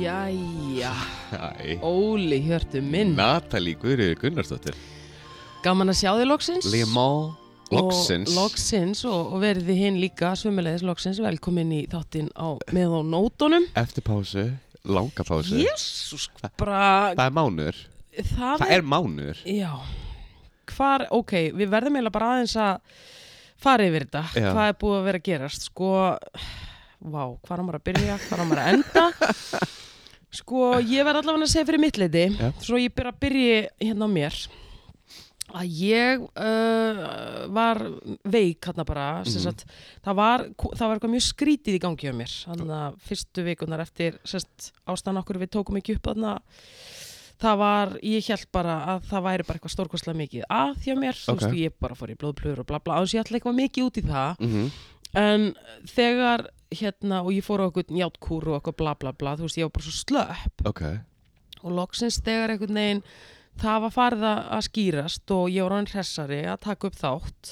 Jæja, Æ, Óli hjörtu minn Natalie Guðriður Gunnarsdóttir Gaman að sjá þig loksins Limá Loksins og, Loksins og, og verið þið hinn líka Svumulegis loksins, velkomin í þáttinn á, með á nótunum Eftir pásu, langa pásu Jésús, bara Það er mánur það, Það er mánur Já, hvar, ok, við verðum eiginlega bara aðeins að fara yfir þetta Já. Hvað er búið að vera að gerast, sko Vá, hvar á maður að byrja, hvar á maður að enda Sko, ég verð allavega að segja fyrir mitt leiti Já. Svo ég byrja að byrja hérna á mér að ég uh, var veik hérna bara mm. sagt, það, var, það var eitthvað mjög skrítið í gangi á mér þannig að fyrstu vikunar eftir sérst, ástæðan okkur við tókum ekki upp þannig að það var, ég held bara að það væri bara eitthvað stórkostlega mikið að hjá mér, þú Ok. veist, ég bara fór í blóðplöður og bla bla, aðeins ég ætla eitthvað mikið út í það mm -hmm. en þegar hérna, og ég fór á eitthvað njátkúr og eitthvað bla bla bla, þú veist, ég var bara svo slöpp Ok, og loksins þegar einhvern veginn það var farið að að skýrast og ég var hann hressari að taka upp þátt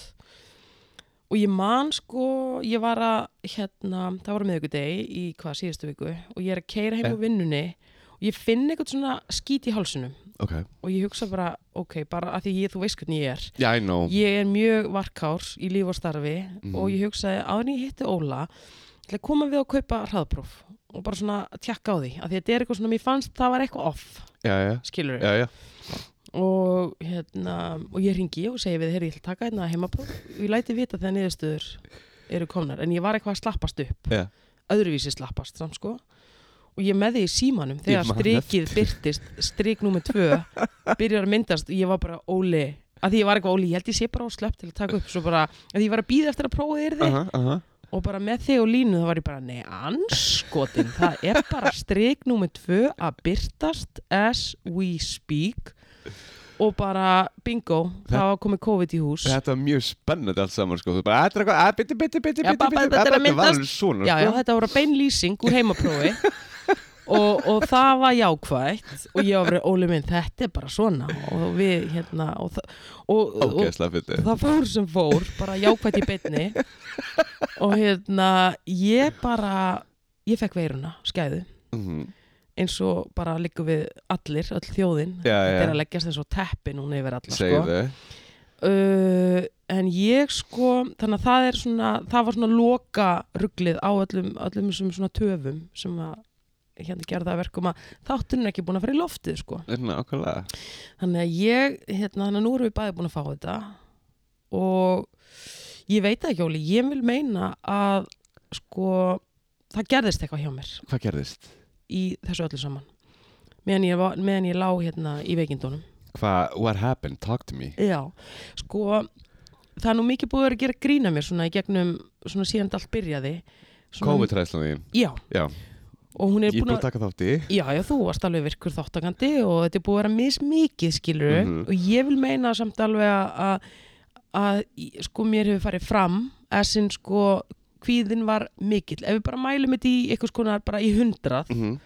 og ég man sko ég var að hérna það var miðvikudegi í hvað síðustu viku og ég er að keira heim Eh. úr vinnunni og ég finn eitthvað svona skít í hálsunum ok og ég hugsa bara, ok, bara að því ég, þú veist hvernig ég er Já, I know ég er mjög varkár í líf og starfi og ég hugsaði áður en ég hitti Óla ég ætla að koma við að kaupa hraðpróf og bara svona tjekka á því að því að þetta er eitthvað svona, mér fannst það var eitthvað off Já, já, skilur já, já og hérna og ég ringi og segi við, heyrðu, ég ætla að taka hérna heimapróf og ég læti vita þegar niðurstöður eru komnar, en ég var eitthvað að slappast upp Já. öðruvísi slappast samt sko og ég með því í símanum Ég þegar man strikið byrtist, strik nummer tvö byrjar að myndast og ég var bara óli að því ég var eitthvað óli, ég held ég sé bara á slepp til að taka upp svo bara, að ég var að býða eftir að prófa þér þig Aha, aha. og bara með þig og línu þá var ég bara nei, anskotin, það er bara strik númer tvö að byrtast as we speak og bara bingo það var komið COVID í hús Þetta var mjög spennandi allt saman sko Þú bara, þetta er eitthvað, að, bitti, bitti, bitti, Já, bitti bara- bitti." þetta er að Þetta var myndast. alveg svona já, já, sko þetta voru bein lýsing úr heimaprófi og, og það var jákvætt og ég var verið, Óli minn, þetta er bara svona og við, hérna og, það- og, og, Ógeðslega fyndi það fór sem fór, bara jákvætt í beinni og hérna ég bara, ég fekk veiruna skæðu Mhm. eins og bara liggur við allir, öll þjóðin Já, þetta er já, að leggjast eins og teppi núna yfir alla segðu sko. þau uh, en ég sko þannig að það er svona, það var svona loka rugglið á öllum, öllum þessum svona töfum sem að hérna gerða að verkum að þátturinn er ekki búin að fara í loftið sko, Hérna, Nákvæmlega þannig að ég hérna, þannig að nú erum við bæði búin að fá þetta og ég veit það ekki Óli, ég vil meina að sko, það gerðist eitthvað hjá mér Hvað gerðist? í þessu öllu saman meðan ég, var- meðan ég lá hérna í veikindunum Hvað, what happened? Talk to me já, sko það er nú mikið búið að vera að gera grína mér svona í gegnum, svona síðan allt byrjaði svona, COVID-træslan þín já, Já, og hún er ég er búin búin að að taka þátt í já, já, þú varst alveg virkur þáttakandi og þetta er búið að vera mismikið skilur Mhm. og ég vil meina samt alveg að- að að í- sko mér hefur farið fram eða sinn sko kvíðin var mikill, ef við bara mælum þetta í eitthvað skonar bara í hundrað mm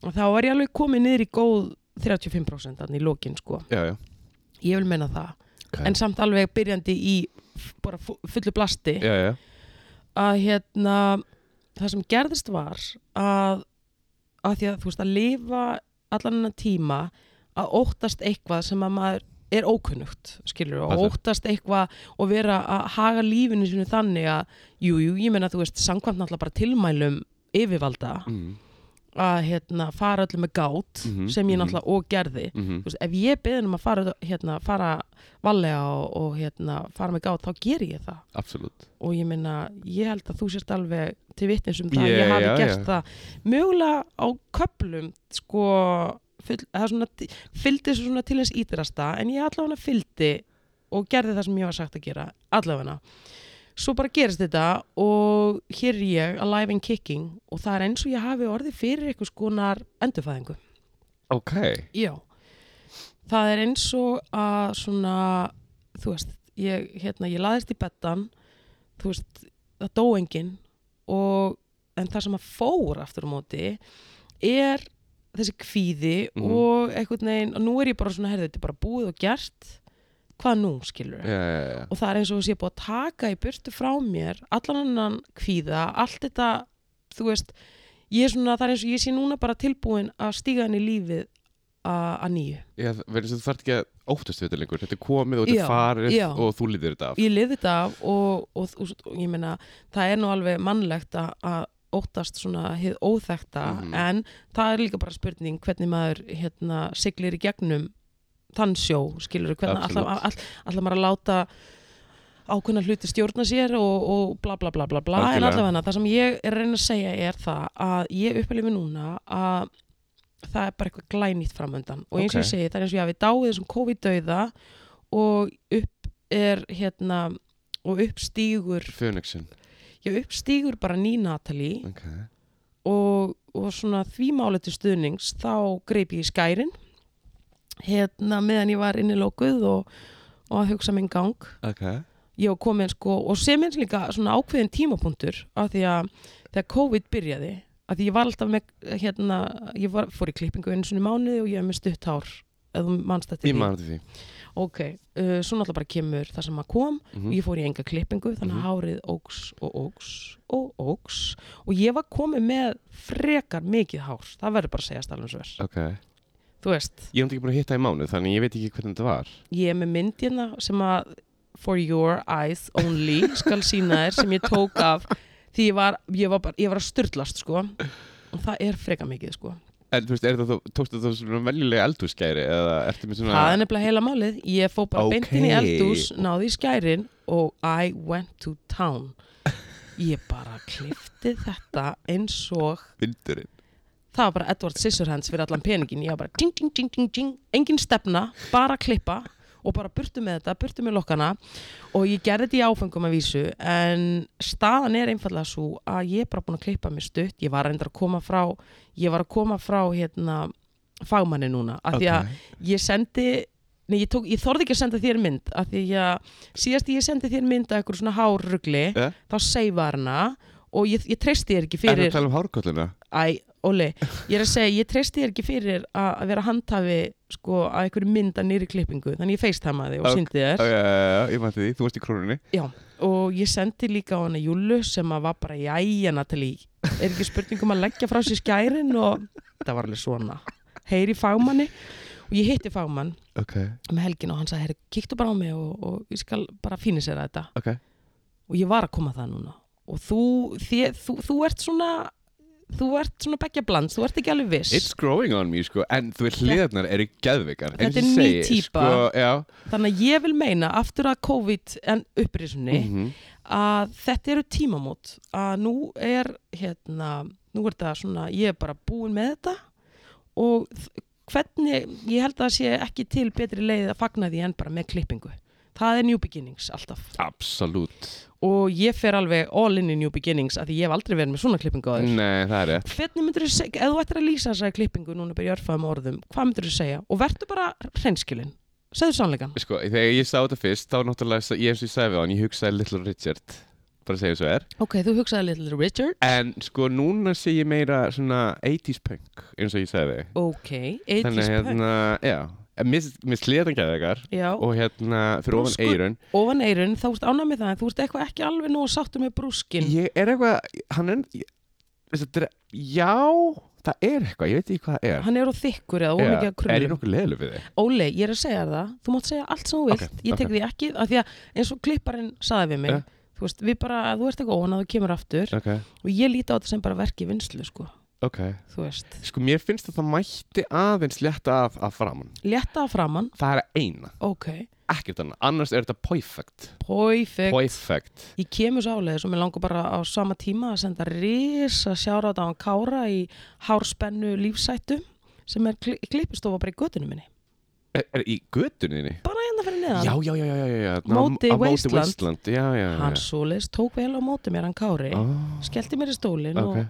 og þá var ég alveg komið niður í góð 35% þannig í lokin sko Já, já ég vil menna það, okay. en samt alveg byrjandi í f- bara fu- fullu blasti Já, já að hérna það sem gerðist var að, að því að þú veist að lifa allan hennar tíma að óttast eitthvað sem að maður er ókunnugt, skilur og Passar. óttast eitthvað og vera að haga lífinu sinu þannig að, jú, jú, ég menna þú veist, samkvæmt náttúrulega bara tilmælum yfirvalda mm að hérna, fara öllum með gát Mhm, sem ég mhm. náttúrulega og gerði -hmm. Þú veist, ef ég beðin um að fara, hérna, fara valega og, og hérna, fara með gát þá ger ég það Absolutt og ég minna, ég held að þú sért alveg til vitnis um það, Já, ég hafi já, gert já. það mögulega á köplum sko fyll, það svona, fylgdi svo svona til eins ítrasta en ég allavega fylgdi og gerði það sem ég var sagt að gera, allavega svo bara gerist þetta og hér er ég, alive and kicking og það er eins og ég hafi orðið fyrir eitthvað skonar endurfæðingu Ok Já, það er eins og að svona, þú veist, ég, hérna, ég laðist í bettan, þú veist, það dó enginn og, en það sem að fór aftur á móti er þessi kvíði Mhm. og einhvern veginn, og nú er ég bara svona, herði, þetta er bara búið og gert, hvað nú skilur já, já, já. og það er eins og þess að ég er búið að taka í burtu frá mér allan annan kvíða, allt þetta þú veist, ég er svona það er eins og ég sé núna bara tilbúin að stíga inn í lífið að að nýju Já, verður sem þú þarf ekki að óttast við þetta lengur Þetta er komið og þetta Já, er farið já. og þú lítir þetta af ég liði þetta af og, og, og, og ég meina, það er nú alveg mannlegt að, að óttast svona hið óþekta Mhm. en það er líka bara spurning hvernig maður hérna siglir í gegnum þann sjó, skilur hvernig Absolutt. allar all, all maður að láta ákveðna hluti stjórna sér og, og bla bla bla bla bla en Algjörlega. allavega það sem ég er að reyna að segja er það að ég uppelifi núna að það er bara eitthvað glænýtt framöndan og eins og Ok. ég segi, það er eins og ég hafi dáið þessum COVID-dauða og upp er hérna og uppstígur Fönixin já, uppstígur bara ný Natalie okay. og, og svona því máli til stuðnings þá greip ég í skærin hérna meðan ég var innilókuð og, og að hugsa minn gang Okay. ég var komin sko og sem eins líka svona ákveðin tímapunktur af því að þegar COVID byrjaði af því ég var alltaf með hérna, ég var, fór í klippingu einu sinni í mánuði og ég er með stutt hár ef þú manst þetta Ég mann þetta því ok, uh, svo náttúrulega bara kemur það sem að kom Mhm. og ég fór í enga klippingu þannig að Mhm. hárið óks og óks og óks og ég var komið með frekar mikið hár það verður bara að segja stælum sver okay. þú veist, Ég er náttúrulega ekki búin að hitta í mánuð þannig ég veit ekki hvernig þetta var ég er með myndina sem að for your eyes only skal sína þér sem ég tók af því ég var, ég var, bara, ég var að styrlast sko og það er frekar mikið sko En þú veist, er þetta þá, tókstu þetta þá svona veljulega eldhúsgæri eða ertu með svona það er nefnilega heila málið ég fó bara Ok. beint inn í eldús, náði í skærin og I went to town ég bara klifti þetta eins og vindurinn það var bara Edward Scissorhands fyrir allan peningin ég var bara ding, ding, ding, ding, ding, engin stefna bara klippa og bara burtu með þetta, burtu með lokkana og ég gerði þetta í áfengum að vísu en staðan er einfallega svo að ég er bara búin að klippa mér stutt ég var reyndar að koma frá ég var að koma frá hérna fagmanni núna, af því að ég sendi Nei, ég, tók, ég þorði ekki að senda þér mynd af því að síðast ég sendi þér mynd af einhverju svona hárrugli, Ja. þá seifa hana og ég, ég treysti þér ekki Er það fyrir að tala um hárkolluna? Æ, Óli, ég er að segja, ég treysti þér ekki fyrir að að vera handhafi sko, að einhverju mynda nýri klippingu þannig ég feistamaði og Ok, syndi Já, þér já, já, já, ég mann þetta því, þú varst í krónunni og ég sendi líka á hana Júlu sem að var bara jæja Natalie, er ekki spurning um að leggja frá sér skærin og það var alveg svona, heyri í fagmanni og ég hitti fagmann Ok, um helgin og hann sagði, heyri, kíktu bara á mig og, og ég skal bara fínisera þetta ok og ég var að koma það núna og þú, því, þú, þú ert svona þú ert svona beggja bland, þú ert ekki alveg viss It's growing on me, sko, en þú veist, hliðarnar eru geðvikar Eins Þetta og er ný ég segi, típa. sko, Já, Þannig að ég vil meina aftur að COVID en upprisunni mhm, að þetta eru tímamót að nú er hérna, nú er þetta svona, ég er bara búin með þetta og þ- hvernig, ég held að það sé ekki til betri leið að fagna því en bara með klippingu. Það er New Beginnings alltaf absolutt og ég fer alveg all in í New Beginnings af því ég hef aldrei verið með svona klippingu á þér. Nei, það er rétt Hvernig myndur þú segja, ef þú ættir að lýsa þessari klippingu núna byrja örfaðum orðum, hvað myndur þú segja? Og verður bara hreinskilin, segðu sannleikan. Sko, þegar ég sá þetta fyrst, þá náttúrulega, sa- ég eins og ég sagði við hann, ég hugsaði Little Richard, bara að segja svo er. Ok, þú hugsaði Little Richard. En sko, núna sé ég meira svona 80s punk, eins og ég sagði. Ok, 80s punk hérna, já, en mér mér sliðan gæði ykkar Já, og hérna, fyrir ofan Brúskur. eirun. ofan eirun, þá ert ánað með það en þú ert eitthvað ekki alveg nú sáttur með brúskin Ég er eitthvað, hann er, ég- veist þetta er, já, það er eitthvað, ég veit ekki hvað það er. Hann er á þykkur eða Já, ofan ekki að Er ég krullum nokkuð leðileg við þig? Óli, ég er að segja þér það, þú mátt segja allt sem þú Ok, vilt Ég tek ok. Eh? því ekki, af því að eins og klipparinn saði við mig Ja. Þú veist, við bara, þú ert eitthvað óan að þú kemur aftur Ok, og ég líti á þetta sem bara verki vinslu, sko ok. Þú veist, Sko, mér finnst að það mætti aðeins létta af, af framann. létta að framann, Það er eina, ok ekkert annað, annars er þetta perfect. Perfect, Perfect. ég kemur svo álega og mér langar bara á sama tíma að senda risa sjára á hann Kára í hárspennu lífsættu sem er kli klippistofa bara í götunum minni Er, er í götunniðni? bara hérna fyrir neðan Já, já, já, já, já, já. ná, Móti á móti Wasteland. Wasteland, Já, já, já. hann svoleiðis tók vel á móti mér hann Kári Ah, skellti mér í stólinn ok. og,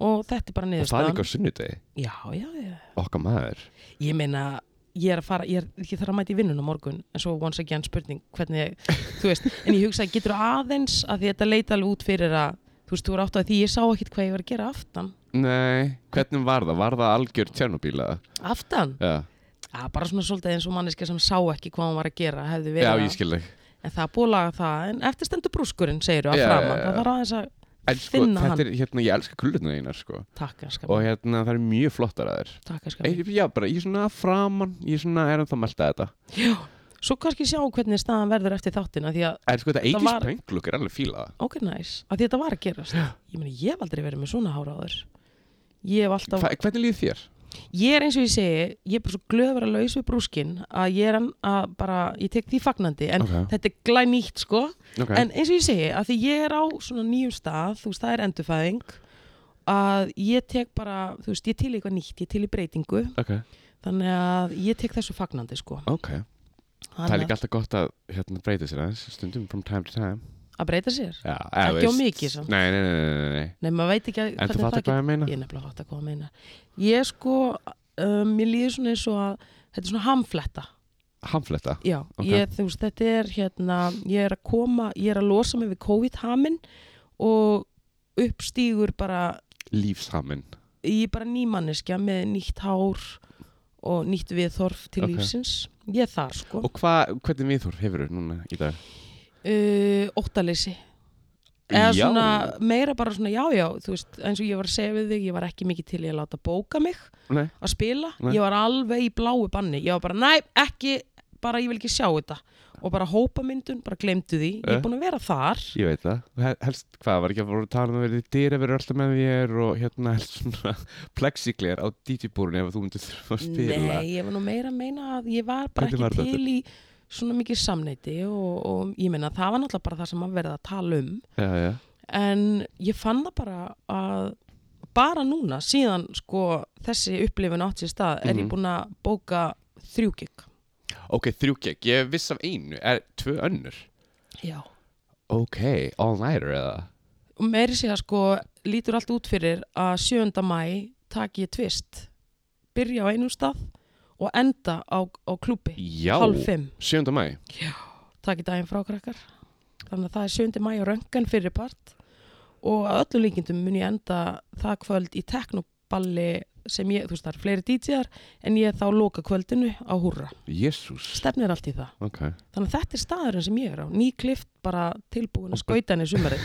og þetta er bara Og það er niðurstaðan líka sko. á sunnudegi. já, já, já, Okkar maður. ég meina ég er að fara, ég, er, ég þarf að mæta í vinnun á morgun en svo once again spurning hvernig, þú veist, en ég hugsaði, getur aðeins að því þetta leita alveg út fyrir að þú veist, þú er átt að því ég sá ekkit hvað ég var að gera aftan Nei, hvernig var það? Var það algjör tjernobíla? aftan, Já, að bara svona svolítið eins og manneska sem sá ekki hvað hún var að gera hefði já verið ég að, skil þig en það er búið að laga það en eftir stendur brúskurinn, segir þú að Já, framan já, já. það var aðeins að En sko, Finna þetta hann. er, hérna, ég elska kullutna einar sko taka skam, Og hérna, það er mjög flottar að þér taka skam. Ei, Já, bara, ég svona framan, ég svona er ennþá melta þetta svo kannski sjá hvernig staðan verður eftir þáttina því að, En sko, þetta Það eigis var- var... pengluk er alveg fíla ok, næs, að því þetta var að gerast ég meni, ég hef aldrei verið með svona háráður ég hef alltaf Hva, Hvernig líður þér? ég er eins og ég segi, ég er bara svo glöð að vera laus við brúskinn að ég er hann að bara, ég tek því fagnandi en Ok. þetta er glænýtt sko Okay. en eins og ég segi, að því ég er á svona nýjum stað, þú veist, það er endurfæðing að ég tek bara þú veist, ég er til í eitthvað nýtt, ég er til í breytingu Ok, þannig að ég tek þessu fagnandi sko ok Það er Þannig líka alltaf gott að hérna, breyta sér aðeins stundum from time to time að- að breyta sér já, eða Ekki á veist- mikið samt. Nei, nei, nei, nei, nei, nei. Nei, maður veit ekki að, En þú fattar hvað ég meina? Ég er nefnilega fatt að hvað að meina Ég sko, um, mér líður svona eins og að Þetta er svona hamfletta Hamfletta Já, Ok. ég, þú veist, þetta er hérna Ég er að koma, ég er að losa mig við COVID-hamin Og uppstígur bara Lífshamin Ég er bara nýmanneskja með nýtt hár Og nýtt viðþorf til Ok. lífsins Ég er þar sko Og hva, hvernig viðhorf hefur þú núna í dag? uh, óttaleysi eða svona meira bara svona já já þú veist eins og ég var að segja við þig ég var ekki mikið til í að láta bóka mig Nei. að spila, Nei. ég var alveg í bláu banni ég var bara næ, ekki, bara ég vil ekki sjá þetta og bara hópamyndun, bara glemdu því ég Eh. er búin að vera þar Ég veit það, Og he- helst hvað var ekki að voru að tala um að verið dýra verið alltaf með þér og hérna helst svona plexiglir á DJ-búrunni ef þú myndir þurfa að spila nei, ég var nú meira að meina að ég var bara Hvernig var ekki þetta? til í svona mikið samneiti og, og ég meina það var náttúrulega bara það sem að verða að tala um Já, já, en ég fann það bara að bara núna síðan sko þessi upplifun átt sér stað er ég Mhm. búin að bóka þrjú gig ok, þrjú gegg, ég viss af einu, er tvö önnur já Ok, all-nighter eða? og meiri segja sko lítur allt út fyrir að 7. mæ tak ég tvist byrja á einum stað og enda á, á klúpi Já, hálf 5 7. mæ tak ég daginn frá krakkar þannig að það er 7. mæ og röngan fyrir part og að öllum líkindum mun ég enda það kvöld í teknoballi sem ég, þú veist það er fleiri DJ-ar en ég þá loka kvöldinu á húrra Jésús stefnir allt í það Ok, þannig að þetta er staðurinn sem ég er á nýklift bara tilbúin að skauta henni sumari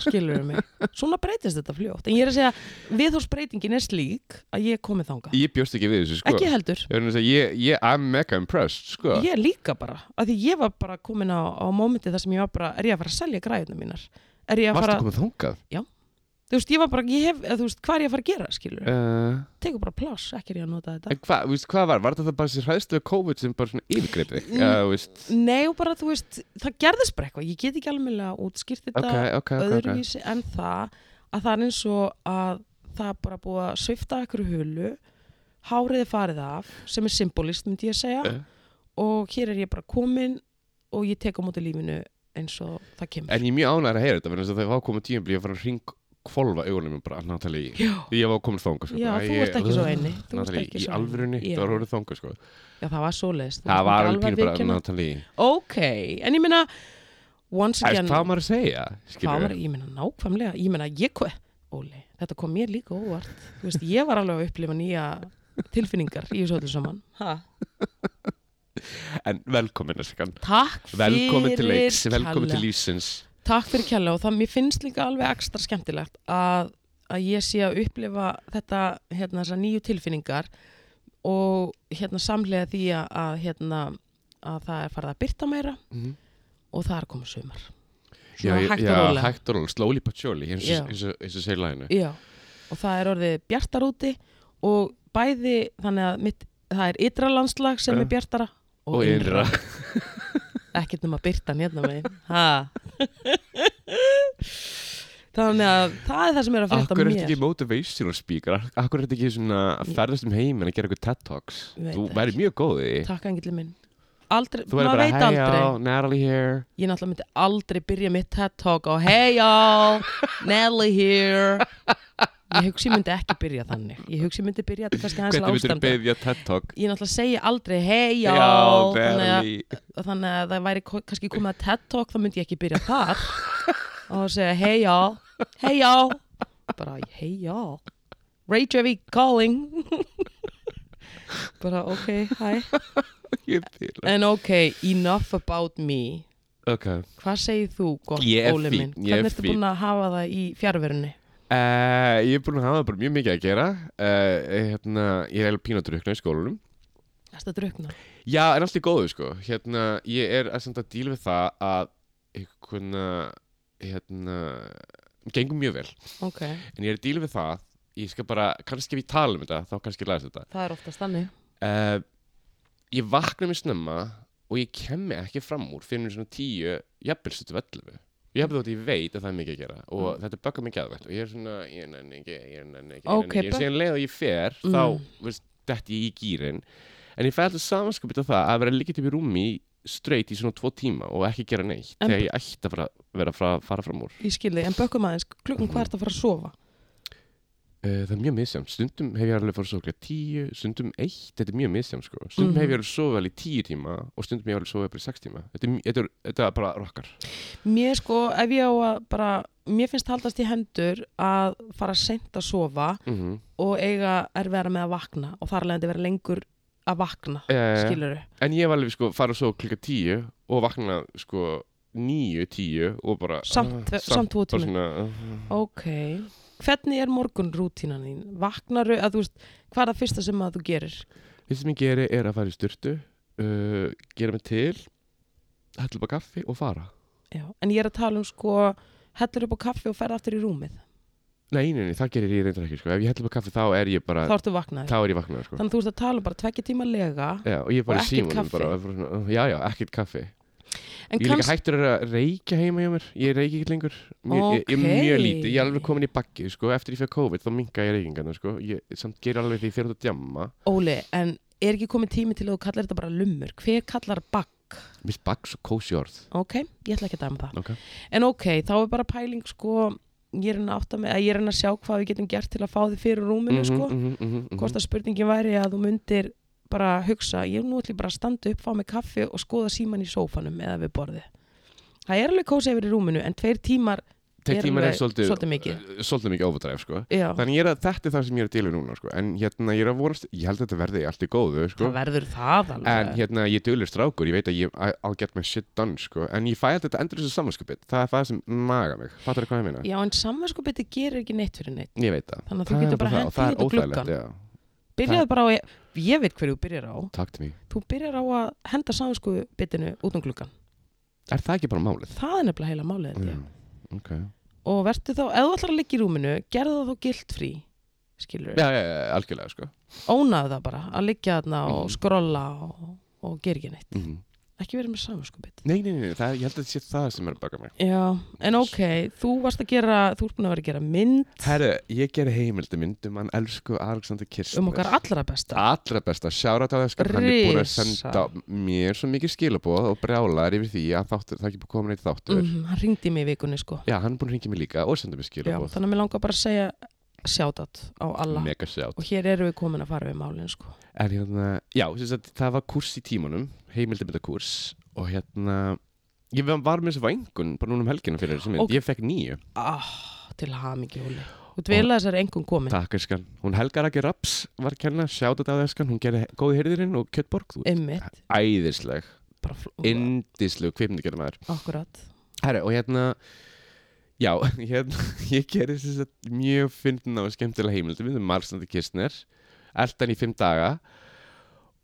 skilur við mig svona breytist þetta fljótt en ég er að segja viðhórsbreytingin er slík að ég er komið þanga ég bjóst ekki við þessu sko ekki heldur, Ég verður að segja, ég, ég, I'm mega impressed, sko. ég er líka bara að því ég var bara komin á, á mómenti þar sem ég var bara er ég að fara að selja græðina mínar er ég að Varstu fara, komið þangað? þú veist, ég var bara ég hef, eða þú veist, hvað er ég að fara að gera skilur við, Uh, tekur bara pláss, ekki er ég að nota þetta en hvað, þú veist, hvað var? Var þetta bara sér hræðstu við COVID sem bara svona yfirgreip þig? Mm. Já, þú veist, nei og bara, þú veist, það gerðist bara eitthvað ég get ekki alveg útskýrt þetta ok, ok, ok, ok. öðruvísi en það að það er eins og að það er bara búið að svifta ykkur hulu hárið er farið af sem er symbolist myndi ég að segja Eh. og hér er ég bara komin og ég tek á móti lífinu eins og það kemur En ég er mjög ánægður að heyra þetta, verður að þegar þá komið tíum ég var að hring kvolfa augunum mér bara, Natalie, Já, ég var komið þangað, sko. já bara, þú ég- ert ekki svo eini Þú ert Natalie, ekki í svo alvörunni, Já. það var orðið þangað, sko. Já, það var svoleiðist Það var alveg pínu bara, Natalie, Ok, en ég meina Once það er again hvað á maður að segja, hérna. hvað var, skilur. ég meina nákvæmlega, ég meina ég hvað, Óli, þetta kom mér líka óvart, þú veist, ég var alveg að upplifa nýja tilfinningar í þessu öllu saman. Ha. En velkomin, Eskan. Takk fyrir Velkomin til leiks, velkomin til kærlega. lífsins. Takk fyrir kjalla og það, mér finnst líka alveg ekstra skemmtilegt að, að ég sé að upplifa þetta, hérna, þessar nýju tilfinningar og hérna samlega því að, að hérna, að það er farið að byrta meira Mhm. og það er komið sumar. Já, Svona já, hægt og já, rólega. hægt og róla, slowly but surely eins Já. og- eins og eins og segir læginu Já, og það er orðið bjartar úti og bæði, þannig að mitt, það er ytra landslag sem Já. er bjartara og, og innra Ekkert nema byrtan hérna með Þannig að það er það sem er að frétta Akkur er mér þetta ekki motivational speaker Akkur er þetta ekki svona að Ég- ferðast um heiminn að gera eitthvað TED Talks Veit Þú ekki. væri mjög góð í því. Takk engillin minn Aldrei, Þú væri maður bara, veit hey aldrei y'all, Natalie here Ég náttúrulega myndi aldrei byrja mitt TED Talk á Hey y'all, Nelly here Ég hugsi ég myndi ekki byrja þannig Ég hugsi ég myndi byrja þetta kannski aðeins Hvernig myndir þú lágstemmdara. beðja TED Talk Ég náttúrulega segja aldrei Hey Já, y'all Þannig að Natalie og þannig að það væri ko- kannski komið að TED Talk þá myndi ég ekki byrja þar og það segja hey y'all, hey y'all bara hey y'all Reykjavík calling bara ok, hi Ég er til. en ok, enough about me Ok. hvað segir þú gott Ég er Óli minn fínn, ég er hvernig ertu fínn. búin að hafa það í fjárverunni Uh, ég er búin að hafa bara mjög mikið að gera. Uh, hérna, ég er eiginlega pínatrukna í skólanum. erstu að drukna Já, en allt í góðu sko Hérna, ég er að senda díl við það að einhverna, hérna gengum mjög vel, ok, en ég er að díl við það ég skal bara, kannski ef ég tala um þetta þá kannski læst þetta það er oftast þannig uh, Ég vakna mér snemma og ég kemmi ekki fram úr fyrir mér svona tíu, jafnvel stundum ellefu Ég hefði þótt að ég veit að það er mikið að gera og Mm. þetta böggar mig geðvægt og ég er svona, ég nenni ekki, Ok, ég nenni ekki, ég nenni ekki. En bögg- síðan um leið og ég fer, Mm. þá, veist, detti ég í gýrin En ég fæði alltaf samanskapið á það að vera líkit upp í rúmi straight í svona tvo tíma og ekki gera neitt En- þegar ég ætti að fara, vera að fara, fara fram úr ég skilði, en bökum aðeins, klukkan hvað ertu að fara að sofa Uh, það er mjög misjám, stundum hef ég alveg fór að sofa tíu, stundum eitt, þetta er mjög misjám sko. stundum Mhm. hef ég alveg sofað alveg í tíu tíma og stundum hef ég alveg sofað bara í sex tíma þetta er, mj- þetta er, þetta er bara rokkar Mér sko, ef ég á að bara, mér finnst haldast í hendur að fara seint að sofa mm -hmm. og eiga er vera með að vakna og þar leðandi vera lengur að vakna, uh, skilurðu. en ég hef alveg sko farið að sofa klukka tíu og vakna sko níu, tíu og bara Samt, ah, samt, samt tvo bara tími. svona, uh, Ok. Hvernig er morgun rútínan þín? Vaknaru, að þú veist, hvað er það fyrsta sem að þú gerir? það sem ég geri er að fara í styrtu uh, gera mig til hella bara kaffi og fara Já. En ég er að tala um sko, hellur upp á kaffi og ferð aftur í rúmið. nei, nei, nei, það gerir ég reyndar ekki sko. ef ég hella bara kaffi þá er ég bara Þá ertu vaknaður. þá er ég vaknað sko. Þannig að þú ert að tala um bara tvekki tíma lega. Já, og ég er bara Og í ekkert símanum kaffi. bara, og er bara svona, já, já, ekkert kaffi En Ég er líka kannski, hættur að reykja heima hjá mér Ég reykja ekki lengur mjög, ég, ég er mjög Ókei. lítið, ég er alveg komin í bakki sko. Eftir ég fyrir COVID þá minga ég reykingarna sko. ég, Samt gerir alveg því fyrir þetta djamma Óli, en er ekki komið tími til að þú kallar þetta bara lumur? Hver kallar bakk? Mér finnst bakk svo kósi orð Ok, ég ætla ekki að dæma það. Ok. En ok, þá er bara pæling sko, ég er enn að átta mig, að ég er enn að sjá hvað við getum gert til að fá þig fyrir rúminu sko. Mhm, mhm, mhm, mhm. Hvort að spurningin væri að þú myndir bara hugsa, ég nú ætla ég bara að standa upp, fá mig kaffi og skoða síman í sófanum eða við borðið. Það er alveg kósa yfir í rúminu, en tveir tímar, Tveir er tímar er alveg svolítið svolítið mikið. eh, Svolítið mikið overdræf sko. já, Þannig ég er að þetta er það sem ég er að dýla núna sko. En hérna ég er að vorast Ég held að þetta verði allt í góðu sko. það verður það alveg. En hérna, ég dölur strákur, ég veit að ég I- I'll get my shit done, sko En ég fæ alltaf þetta endur þessu samanskupið Það er það sem naga mig, fattar það hvað ég meina? Já, en samverðsko beti gerir ekki neitt fyrir neitt. Ég veit það Þannig að þú Það er getur bara það, hent og það því er út og óþægilegt, gluggan. já. Byrjaðu bara á, ég, ég veit hverju þú byrjar á, Takk til mig þú byrjar á að henda samverðsko bitinu út um gluggan. Er það ekki bara málið? Það er nefnilega heila málið þetta. Já, ok og verður þá, ef þú ætlar að liggja í rúminu gerðu það þá gilt frí skilur Já, já, já, algjörlega, sko ónaðu það bara að liggja þarna og Mhm. skrolla og, og gera ekki neitt mm -hmm. ekki verið með samvinskupið Nei, nei, nei, nei, það, ég held að þetta sé það sem er að baka mig já, en ok, þú varst að gera þú ert búin að vera að gera mynd Herru, ég ger heimildi myndum hann elsku Alexander Kirsten um okkar allra besta Allra besta, sjára á þessu Hann er búin að Risa. senda mér svo mikið skilaboð og brjálar yfir því að þáttur, það er ekki búin að koma neitt þáttur mm, hann ringdi mig í vikunni sko Já, hann er búin að ringja mér líka og senda mér já, skilaboð þannig að mér langar bara að segja sjátat á alla Mega sjátt og hér eru við komin að fara við málin sko En hérna, já, sem sagt, það var kurs í tímanum, heimildamindakurs og hérna, ég var með þessu vængun bara núna um helgina fyrir þessu mynd, Ok. ég fekk nýju, ah, til hamingi Óli og dvila þessar engum komin takk eskan hún Helga Raki Raps var að kenna, sjáta þetta á eskan hún gerði góði hyrðirinn og Kjöttborg þú, einmitt, æðisleg, bara fl- indisleg kvipmyndagjörðum maður akkurat Herra, og hérna Já, hérna, ég gerði þess að mjög fyndin á skemmtilega heimildum við Marslandi Kirstner, eldan í fimm daga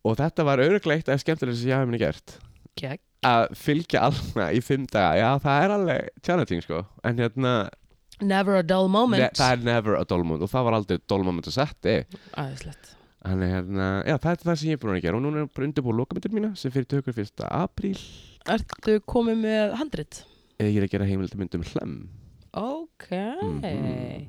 og þetta var örugglega eitt af skemmtilega sem ég hafi minni gert gegn að fylgja alna í fimm daga já það er alveg challenging sko en hérna Never a dull moment ne, það er never a dull moment og það var aldrei dull moment að setja Æðislegt þannig hérna já það er það sem ég er búin að gera og núna er bara undirbúið lokamöndir mína sem fyrir tökur 1. apríl Ertu komið með handrit? eða ég er að gera heimildamynd um hlem Ok Mhm.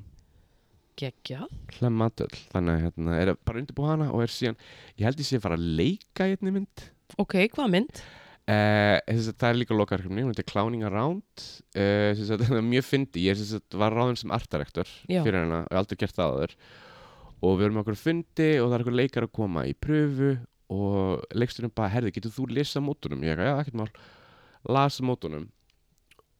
Geggjað hlem matöll þannig að hérna er að bara undirbúið hana og er síðan ég held ég sé að fara að leika í einni mynd Ok, hvað mynd? Uh, það er líka lokaverkefni, hún heitir Clowning Around uh, það er mjög fyndi ég sem sagt, var ráðin sem artdirektor Já. fyrir hennar og aldrei gert það aður og við erum með okkur fundi og það er okkur leikar að koma í pröfu og leiksturinn bara, herði, getur þú lesa mótunum? Ég eitthvað, já, ekkert mál lasa mótunum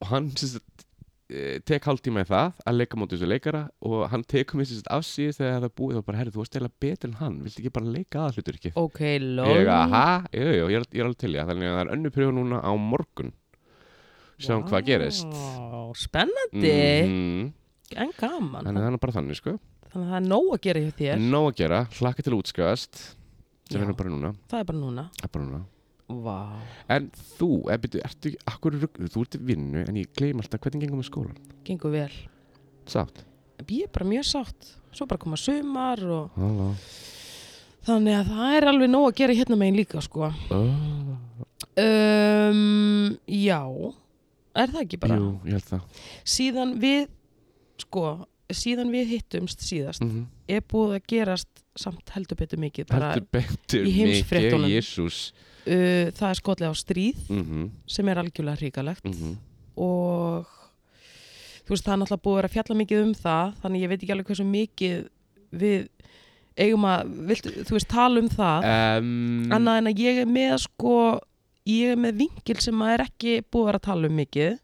og hann sem sagt, eh, tek hálftíma í það að leika móti þessu leikara og hann tekur mér sérst afsýðis þegar það er búið og bara, herri, þú varst eða betur en hann viltu ekki bara leika aðallutur ekki ok, ég, lol aha, jú, jú, ég, er, ég er alveg til ég þannig að það er önnu pröfu núna á morgun sjáum Vá, hvað gerist spennandi, Mhm. en gaman þannig að Mm, það er bara þannig sko þannig að það er nóg að gera hjá þér nóg að gera, hlakka til að útskjáðast Já. sem er nú bara núna, það er bara núna Það er bara núna. Vá. en þú, eða byrju, ertu ekki akkur, þú ert í vinnu en ég gleym alltaf hvernig gengum við skólan gengur vel sátt, ég er bara mjög sátt svo bara koma sumar og halló þannig að það er alveg nóg að gera hérna megin líka sko oh. um, já er það ekki bara jú, ég held það síðan við sko, síðan við hittumst síðast mm -hmm. er búið að gerast samt heldur betur mikið bara, heldur betur í heimsfréttunum. mikið jésús uh, það er skotlið á stríð mm -hmm. sem er algjörlega hríkalegt mm -hmm. og þú veist það er náttúrulega búið að vera að fjalla mikið um það þannig ég veit ekki alveg hversu mikið við eigum að, viltu, þú veist, tala um það um, annað en að ég er með sko ég er með vingil sem maður er ekki búið að vera að tala um mikið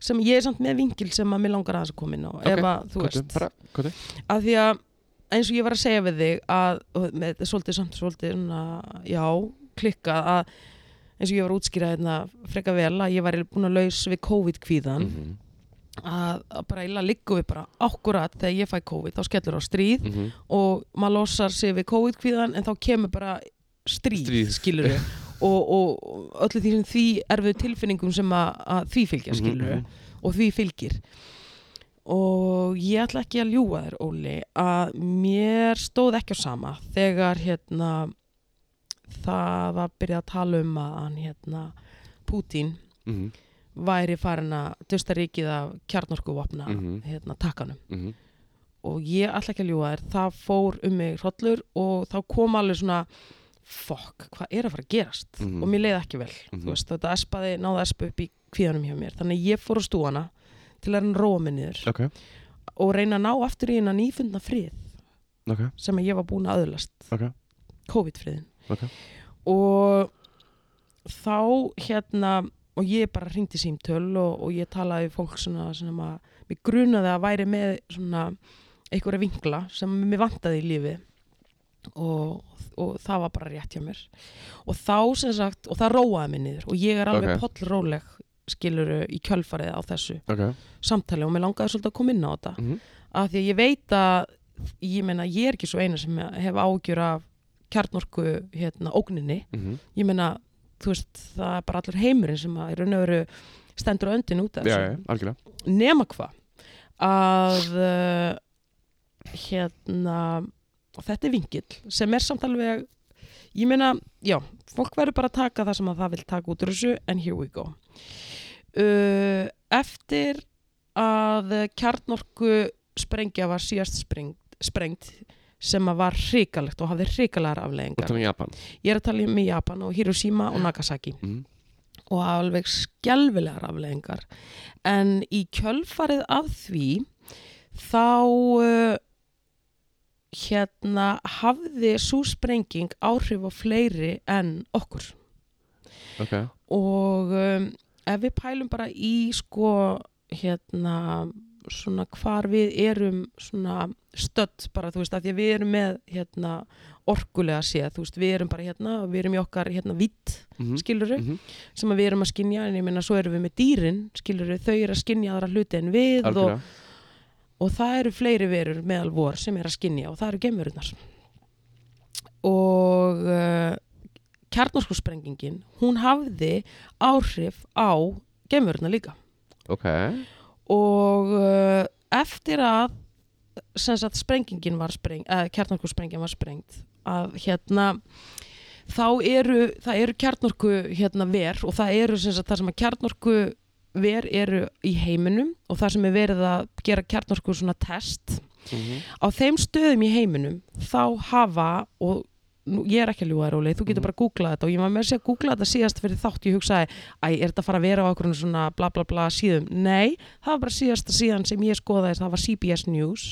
sem ég er samt með vingil sem að mér langar aðeins að koma inn á Ok, ef að, þú hvað veist, bara, hvað að því að eins og ég var að segja við þig að, og með, þetta er svolítið samt svolítið svona, já, klikkað að eins og ég var að útskýra hérna freka vel að ég var búin að laus við COVID-kvíðan Mhm, að, að bara illa liggum við bara akkurat þegar ég fæ COVID, þá skellur á stríð mhm. og maður losar sig við COVID-kvíðan en þá kemur bara stríð, Stríð. skilur við og, og öllu því sem því erfiðu tilfinningum sem að, að því fylgja, Mhm, skilur við mhm. og því fylgir og ég ætla ekki að ljúga þér Óli að mér stóð ekki á sama þegar hérna það var byrjað að tala um að hann hérna Pútín Mhm, væri farin að dusta ríkið af kjarnorkuvopna Mhm. hérna takkanum mhm. og ég ætla ekki að ljúga þér það fór um mig hrollur og þá kom alveg svona fokk, hvað er að fara að gerast Mhm. og mér leiði ekki vel mm Mhm. veist, þetta espaði, náða espa upp í kvíðanum hjá mér þannig að ég fór á stúana til að hann róa mig niður ok, og reyna að ná aftur í hennan ífundna frið ok, sem að ég var búin að öðlast ok COVID-friðin Ok. og þá hérna og ég bara hringdi símtöl og, og ég talaði við fólk svona sem að mér grunaði að væri með svona einhverja vingla sem mér vantaði í lífi og, og það var bara rétt hjá mér og þá sem sagt, og það róaði mig niður og ég er alveg Ok. okay. pollróleg skiluru í kjölfarið á þessu ok, samtali og mér langaði svolítið að koma inn á þetta Mhm. af því að ég veit að ég meina ég er ekki svo eina sem hef ágjur af kjarnorku hérna ógninni Mhm. ég meina þú veist það er bara allur heimurinn sem að í raun og veru stendur á öndin út af já, þessu já, algjörlega nema hvað að uh, hérna og þetta er vingill sem er samt alveg ég meina, já, fólk verður bara að taka það sem að það vil taka út úr þessu en here we go uh, eftir að kjarnorku sprengja var síðast sprengt, sprengt sem að var hrikalegt og hafði hrikalegar og afleðingar þannig Japan ég er að tala um í Japan og Hiroshima og Nagasaki Mhm. og alveg skelvilegar afleðingar en í kjölfarið af því þá uh, hérna hafði svo sprenging áhrif á fleiri en okkur ok, og um, ef við pælum bara í sko hérna svona hvar við erum svona stödd bara þú veist að því að við erum með hérna orkulega séð þú veist við erum bara hérna og við erum í okkar hérna vitt Mhm, skiluru mhm. sem að við erum að skinja en ég meina svo erum við með dýrin skiluru þau eru að skinja aðra hluti en við og, algjörlega og það eru fleiri verur meðal vor sem er að skinja og það eru gemurinnar og uh, kjarnarskursprengingin hún hafði áhrif á gemurinnar líka ok, og uh, eftir að sem sagt sprengingin var spreng eða kjarnorkusprengin var sprengt að hérna þá eru, það eru kjarnorku hérna ver og það eru sem sagt það sem að kjarnorku ver eru í heiminum og það sem er verið að gera kjarnorku svona test Mhm, á þeim stöðum í heiminum þá hafa og nú, ég er ekki að ljúga þér Óli, þú getur Mhm. bara að googla þetta og ég var með að segja að googla þetta síðast fyrir þátt ég hugsaði, æ, er þetta að fara að vera á okkur svona bla bla bla síðum, nei það var bara síðasta síðan sem ég skoðaði það var CBS News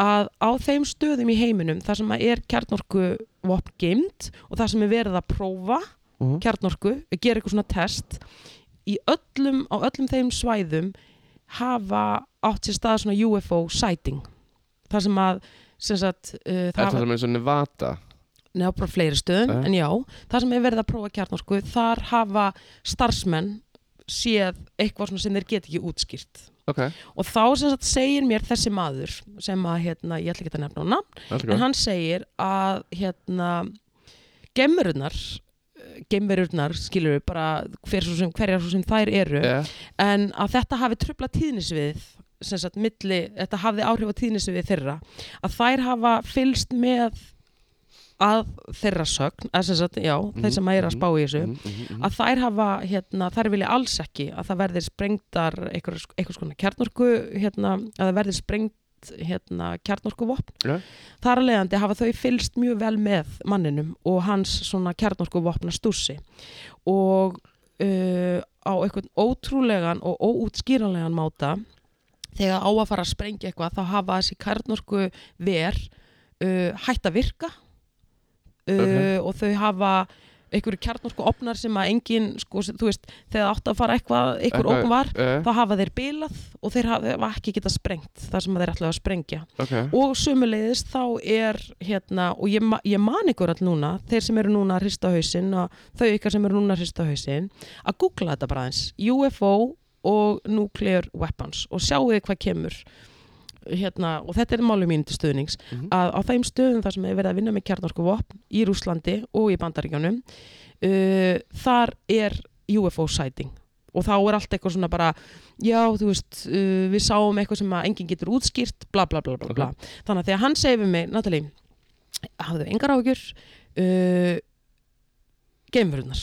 að á þeim stöðum í heiminum það sem að er kjarnorku vopn geimt og það sem er verið að prófa mhm. kjarnorku, gera eitthvað svona test í öllum, á öllum þeim svæðum hafa átt sér stað svona UFO sighting þar sem að sem sagt, uh, Það það er það sem er svona vata Nei, á bara fleiri stöðum, Eh? en já, það sem er verið að prófa kjarnorku, þar hafa starfsmenn séð eitthvað svona sem þeir get ekki útskýrt. Ok, Og þá sem sagt segir mér þessi maður, sem að, hérna, ég ætla ekki að nefna hana, allt en góð hann segir að, hérna, gemururnar, gemururnar, skilur við bara hver svo sem, hverjar svo sem þær eru, yeah. en að þetta hafi trubla tíðnisvið sem sagt milli, þetta hafði áhrif á tíðnisvið þeirra, að þær hafa fylst með að þeirra sögn, að sem sagt, já þeir sem að er að spá í þessu, mm -hmm. að þær hafa, hérna, þær vilja alls ekki að það verði sprengdar einhvers, einhvers konar kjarnorku, hérna að það verði sprengt, hérna kjarnorkuvopn, Já. þar að leiðandi hafa þau fylst mjög vel með manninum og hans svona kjarnorkuvopna stússi og uh, á einhvern ótrúlegan og óútskýranlegan máta þegar á að fara að sprengja eitthvað þá hafa þessi kjarnorku ver uh, hætt að virka uh, Ok. og þau hafa einhverju kjarnorku opnar sem að engin sko, sem- þú veist, þegar átt að fara eitthvað einhver Eitthvað- okn var, yeah. þá hafa þeir bilað og þeir hafa ekki geta sprengt þar sem þeir ætlaðu að sprengja Ok, og sömuleiðis þá er hérna, og ég, ma- ég man ykkur all núna þeir sem eru núna að hrista hausinn og þau ykkar sem eru núna að hrista hausinn að googla þetta bara eins, UFO og nuclear weapons og sjáu þið hvað kemur hérna, og þetta er máli mín til stuðnings Mhm. að á þeim stöðum þar sem er verið að vinna með kjarnorku vopn í Rúslandi og í Bandaríkjónum uh, þar er UFO sighting og þá er allt eitthvað svona bara já, þú veist, uh, við sáum eitthvað sem að enginn getur útskýrt, bla bla bla bla, bla. þannig að þegar hann segir við mig, Natalie hafðu engar ágjur uh, geimverunar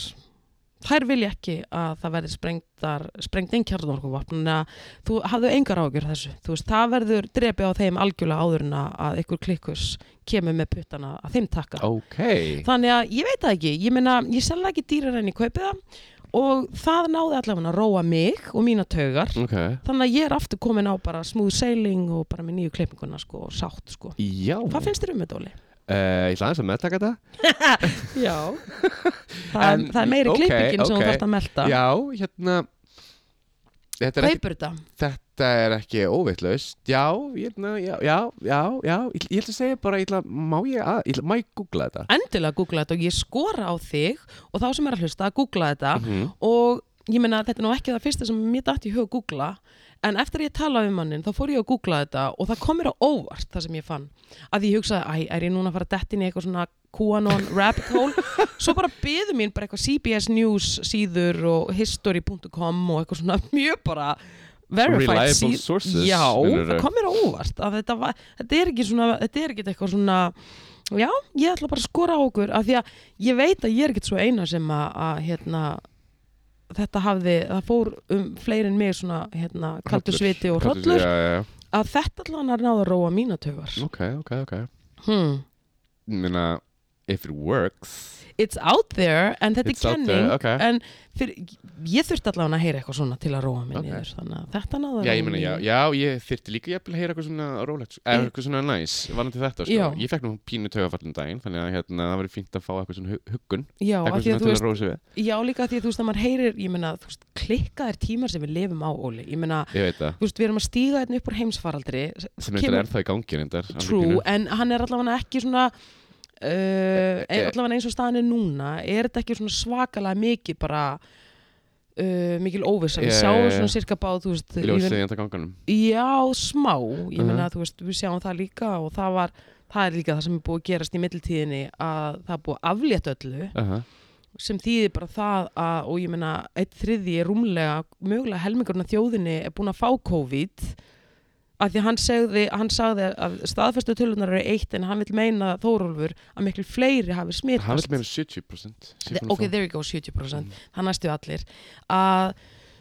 þær vilja ekki að það verði sprengdar, sprengt einn kjarnorkuvopn en að þú hafðu engar ágjur þessu þú veist, það verður drepi á þeim algjörlega áður en að- að ykkur klikkus kemur með puttana að þeim taka ok þannig að ég veit það ekki ég meina, ég selða ekki dýrar enn í kaupið það og það náði allavega að róa mig og mína taugar Ok þannig að ég er aftur komin á bara smooth sailing og bara með nýju klippinguna sko og sátt sko Já hvað finnst þér um þetta Óli? Eh, Ég ætla aðeins að meðtaka þetta já það, er- En- það er meiri ok, klippingin sem ok. þú þarft að melta Já, hérna Þetta er, ekki, kaupur þetta þetta er ekki óvitlaust Já, hérna, já, já, já, já Ég, ég ætla að segja bara, ég ætla, má ég að, ég ætla, má ég googla þetta? endilega googla þetta og ég skora á þig og þá sem er að hlusta að googla þetta Mhm. og ég meina þetta er nú ekki það fyrsta sem mér datt í hug að googla en eftir að ég talaði við mannin þá fór ég að googla þetta og það kom mér á óvart það sem ég fann að ég hugsaði, æ, er ég núna að fara að detti inn í eitthvað svona QAnon rabbit hole svo bara byðu mín bara eitthvað CBS News síður og history.com og eitthvað svona mjög bara verified Reliable sources, já, meinarðu? það kom mér á óvart að þetta, var, þetta er ekki svona þetta er ekki eitthvað svona já, ég ætla bara að skora á okkur af því að ég veit að ég er ekkert svo eina sem að, að hérna, þetta hafði, það fór um fleiri en mig svona hérna, kaldur Hrollur. sviti og hrollur Kaldur- Já, já, já, að þetta allan er náða að róa mína tögar ok, ok, ok hmm. Ég meina, if it works It's out there en þetta It's er out kenning there, ok. en fyrir, ég þurfti allan að heyra eitthvað svona til að róa Ok. minni okay. þannig að þetta náða að Já, róa ég meina, mig já, niður. já, ég þyrfti líka jafnvel að heyra eitthvað svona rólegt, eða Ég- eitthvað svona næs, varandi þetta, sko. Já. Ég fekk nú pínu taugafallin daginn, þannig að hérna, það verið fínt að fá eitthvað svona hu- huggun, já, af því eitthvað svona að til þú að veist, róa sig við. já líka af því að þú veist að maður heyrir, ég meina, þú veist, klikkaðir tímar sem við lifum á, Óli, ég meina Ég veit það, þú veist, við erum að stíga hérna upp úr heimsfaraldri sem þetta er Kemur- ennþá í gangi, reyndar. alveg True, pínu. en hann er allavega ekki svona uh, e- e- allavega eins og staðan er núna er þetta ekki svona svakalega mikið bara uh, mikil óvissa við Já, sjáum já, já. svona sirka bá þú veist, Ljósið even- í enda ganganum. já, smá ég Mhm. meina, þú veist, við sjáum það líka og það var það er líka það sem er búið að gerast í mittiltíðinni að það er búið að aflétt öllu Aha. sem þýðir bara það að, og ég meina, eitt þriði er rúmlega, mögulega helmingurinn af þjóðinni er búin að fá COVID af því að hann segði, hann sagði að staðfestu tölunar eru eitt en hann vil meina Þórólfur að miklu fleiri hafi smitast. Hann vil meira 70%. sé Mm. búin að Ok, fá. there you go, 70%, það næstu allir að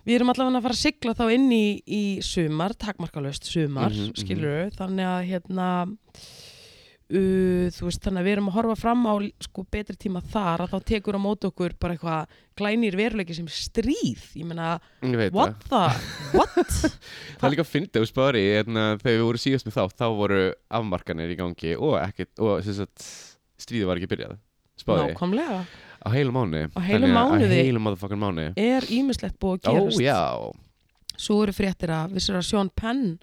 við erum allavega að fara að sigla þá inn í, í sumar, takmarkalöst sumar, mm Mhm, mhm. þannig að hérna uh, þú veist, þannig að við erum að horfa fram á sko betri tíma þar að þá tekur á móti okkur bara eitthvað glænir veruleiki sem stríð, ég meina Ég veit what það. the, what Það er líka fyndið og spári, hérna, þegar við vorum síðast með þá, þá voru afmarkanir í gangi og ekkert, og sem sagt, stríðið var ekki byrjað. Spáði, nákvæmlega, á heilum mánu. Á heilum mánuði. Á heilum motherfucking mánu. er ýmislegt búið að Ó, gerast já. svo eru fréttir að vissir að Sean Penn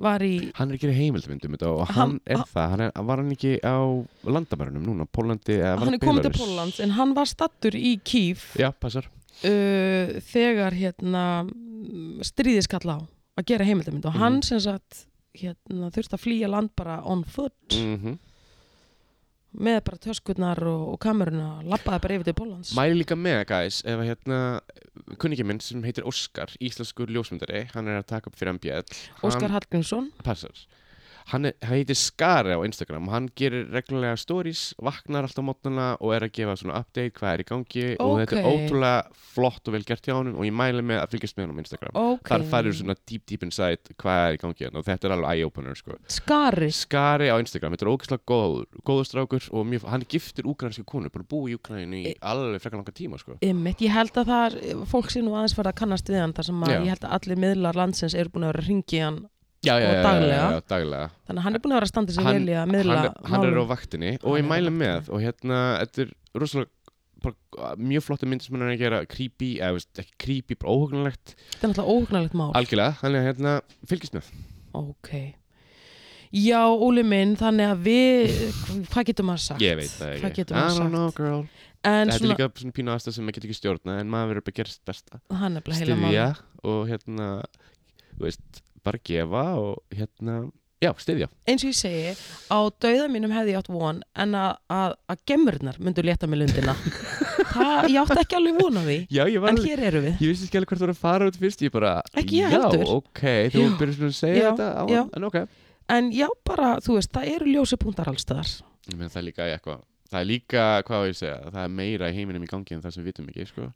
var í Hann er ekki í heimildmyndum þetta og hann, Hann- er það, hann er, var hann ekki á landamærunum núna, Pólandi eða var hann er komin til Belarus? Pólland en hann var stattur í Kýf Já, passar uh, þegar hérna mm, stríðið skall á að gera heimildamind og Mhm. hann sem sagt hérna, þurfti að flýja land bara on foot mm með bara töskurnar og, og kameruna lappaði bara yfir til Póllands Mæli líka með, guys, ef að hérna kunningi minn sem heitir Óskar, íslenskur ljósmyndari, hann er að taka upp fyrir MBL Óskar hann, Hallgrímsson Passar Hann, er, hann heitir Skari á Instagram og hann gerir reglulega stories, vaknar alltaf mótnana og er að gefa svona update hvað er í gangi og þetta er Ókei. ótrúlega flott og vel gert hjá honum og ég mæli með að fylgjast með honum á Instagram okay. Þar færður svona deep deep inside hvað er í gangi hérna og þetta er alveg eye-opener sko skari Skari á Instagram, þetta er ógeðslega góður, góður strákur og mjög, hann er giftur úkransku konu, bara búið í Ukraínu í E- alveg frekar langa tíma sko. Einmitt, ég held að það er, fólk sé nú aðeins farið að kannast við hann þar sem að Já. ég held að allir miðlar landsins eru búin að vera að ringi hann Já, já, Og já, já, daglega. já, já, daglega. þannig að hann er búin að vera að standa sig Hann- vel í að miðla Hann, er- hann er á málum. vaktinni og ég Hann er á mæli vaktinni. með og hérna, þetta er rosalega bara, mjög flotta mynd sem hann er að gera creepy, eða veist, ekki creepy, bara óhugnulegt þetta er náttúrulega óhugnalegt mál algjörlega, þannig að hérna, fylgist með ok já, Óli minn, þannig að við hvað getur maður sagt? ég veit það ekki, hvað getur I maður don't sagt? know girl en þetta er svona, líka svona pínu aðstæð sem maður getur ekki stjórna en maður verður bara að gera sitt besta hann er bara heila mál styðja og hérna þú veist, bara gefa og hérna, já, styðja eins og ég segi, á dauða mínum hefði ég átt von en að, að, að gemurnar myndu létta með lundina það, ég átti ekki alveg von á því Já, ég var en alveg, hér eru við ég vissi ekki alveg hvert þú voru að fara út fyrst ég bara, Ekki ég já, heldur. ok þú Já. byrjast með að segja Já, þetta á, já. en ok en já, bara, þú veist, það eru ljósupúntar allstöðar ég meina það er líka eitthvað það er líka, hvað á ég að segja, það er meira í heiminum í gangi en það sem við vitum ekki, sko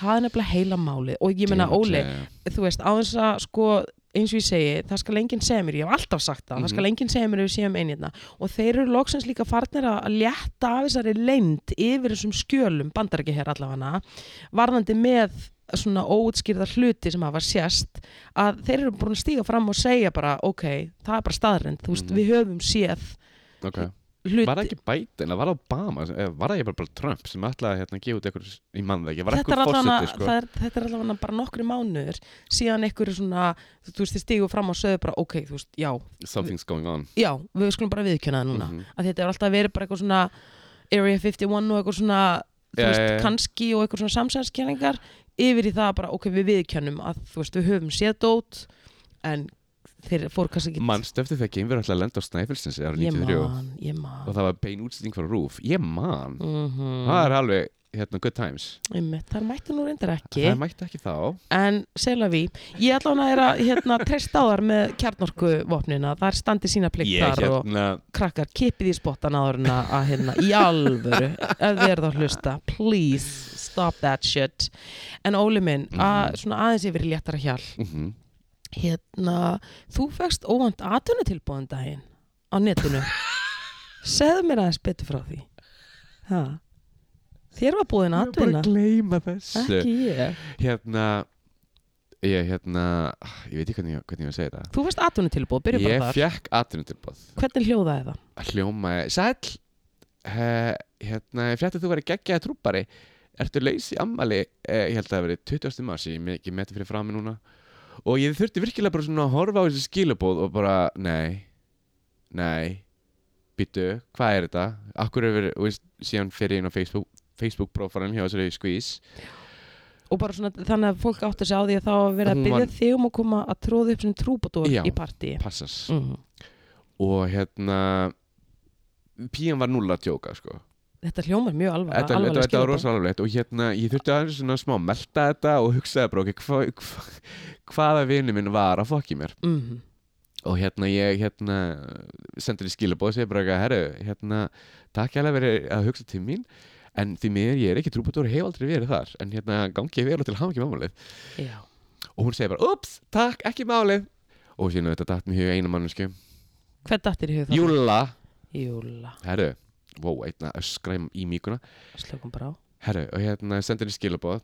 það er nefnilega heila málið og ég meina Óli, þú veist, á þess að sko eins og ég segi, það skal enginn segja mér ég hef alltaf sagt það, það Mhm. skal enginn segja mér ef við séum einirna og þeir eru loksins líka farnir að að létta af þessari leind yfir þessum skjölum, bandar ekki hér allavega varðandi með svona óutskýrða hluti sem hafa sést að þeir eru búin að stíga fram og segja bara, ok, það er bara staðrind þú veist, Mhm. við höfum séð okay. hluti var það ekki Biden, eða var það Obama eða var það ég bara, bara Trump sem ætlaði að hérna, gefa út eitthvað, ég mann það ekki, var þetta er, eitthvað allavega, fórseti, sko það er, þetta er allavega bara nokkri mánuður síðan einhverju svona, þú þú veist, þið stígu fram og sögðu bara, ok, þú veist, já, something's going on já, við skulum bara viðkjöna það núna Mhm. að þetta er alltaf verið bara eitthvað svona Area 51 og eitthvað svona þú Já, veist, já, já. kannski og eitthvað svona samsæðskenningar yfir í það bara, ok, við viðkjönum að þú veist, við höfum séð dót en þeir fór kannski ekki Manstu eftir þegar geimverið ætlaði að lenda á Snæfellsins árið ég 93 man, ég man og það var bein útsending frá Rúf ég man, mm -hmm. það er alveg hérna good times, þar mætti nú reyndar ekki það mætti ekki þá en selja við, ég ætla hann að er að hérna, treysta á þar með kjarnorku vopnina þar standi sína plikt ég þar og hérna, krakkar, kippið í spottan áður en að að, hérna, í alvöru ef þið eru þá að hlusta, please stop that shit en Óli minn, að, svona aðeins yfir í léttara hjal mhm. hérna, þú fegst óvænt atvinnutilbóðan daginn á netinu segðu mér aðeins betur frá því ha. þér var búin ég var bara atvinna að gleyma þessu ekki ég, hérna ég hérna, ah, ég veit ekki hvernig, ég- hvernig ég á að segja það þú fegst atvinnutilbóð, byrjum ég bara þar fekk atvinnutilbóð hvernig hljóðaði það? hljómaði, sæll he, hérna, ég frétti að þú verið geggjaði trúpari ertu laus í ammali eh, ég held að það hafi verið 20. mars ég er ekki meti fyrir frá mig núna og ég þurfti virkilega bara svona að horfa á þessi skilabóð og bara, nei nei, býtu hvað er þetta, akkur er verið og veist, síðan fyrir inn á Facebook Facebook prófarinn hjá þessari squeeze og bara svona þannig að fólk átti sig á því að þá að vera að Hún byrja var- þig um að koma að tróða upp sem trúbadór Já. í partíi passas mm. og hérna pían var núla að djóka sko. Þetta hljómar mjög alvar, þetta, þetta, þetta var rosa alveg og hérna, ég þurfti aðeins svona smá að melta þetta og hugsaði bara ok, hva, hva, hvaða vinu minn var að fokki mér mm og hérna ég hérna, sendur í skilabóð og segir bara eitthvað, herru, hérna, takk hérlega verið að hugsa til mín en því miður ég er ekki trúbútur og hef aldrei verið þar en hérna gangi ég vel og til hafa ekki mámálið Já, og hún segir bara, ups, takk, ekki málið og síðan þetta datt mér í hug eina mannsku hvern dattir í hug það? Júlla, Júla, herru, wow, einna öskra í- í mýkuna slökum bara á Herru, og hérna sendir henni skilabóð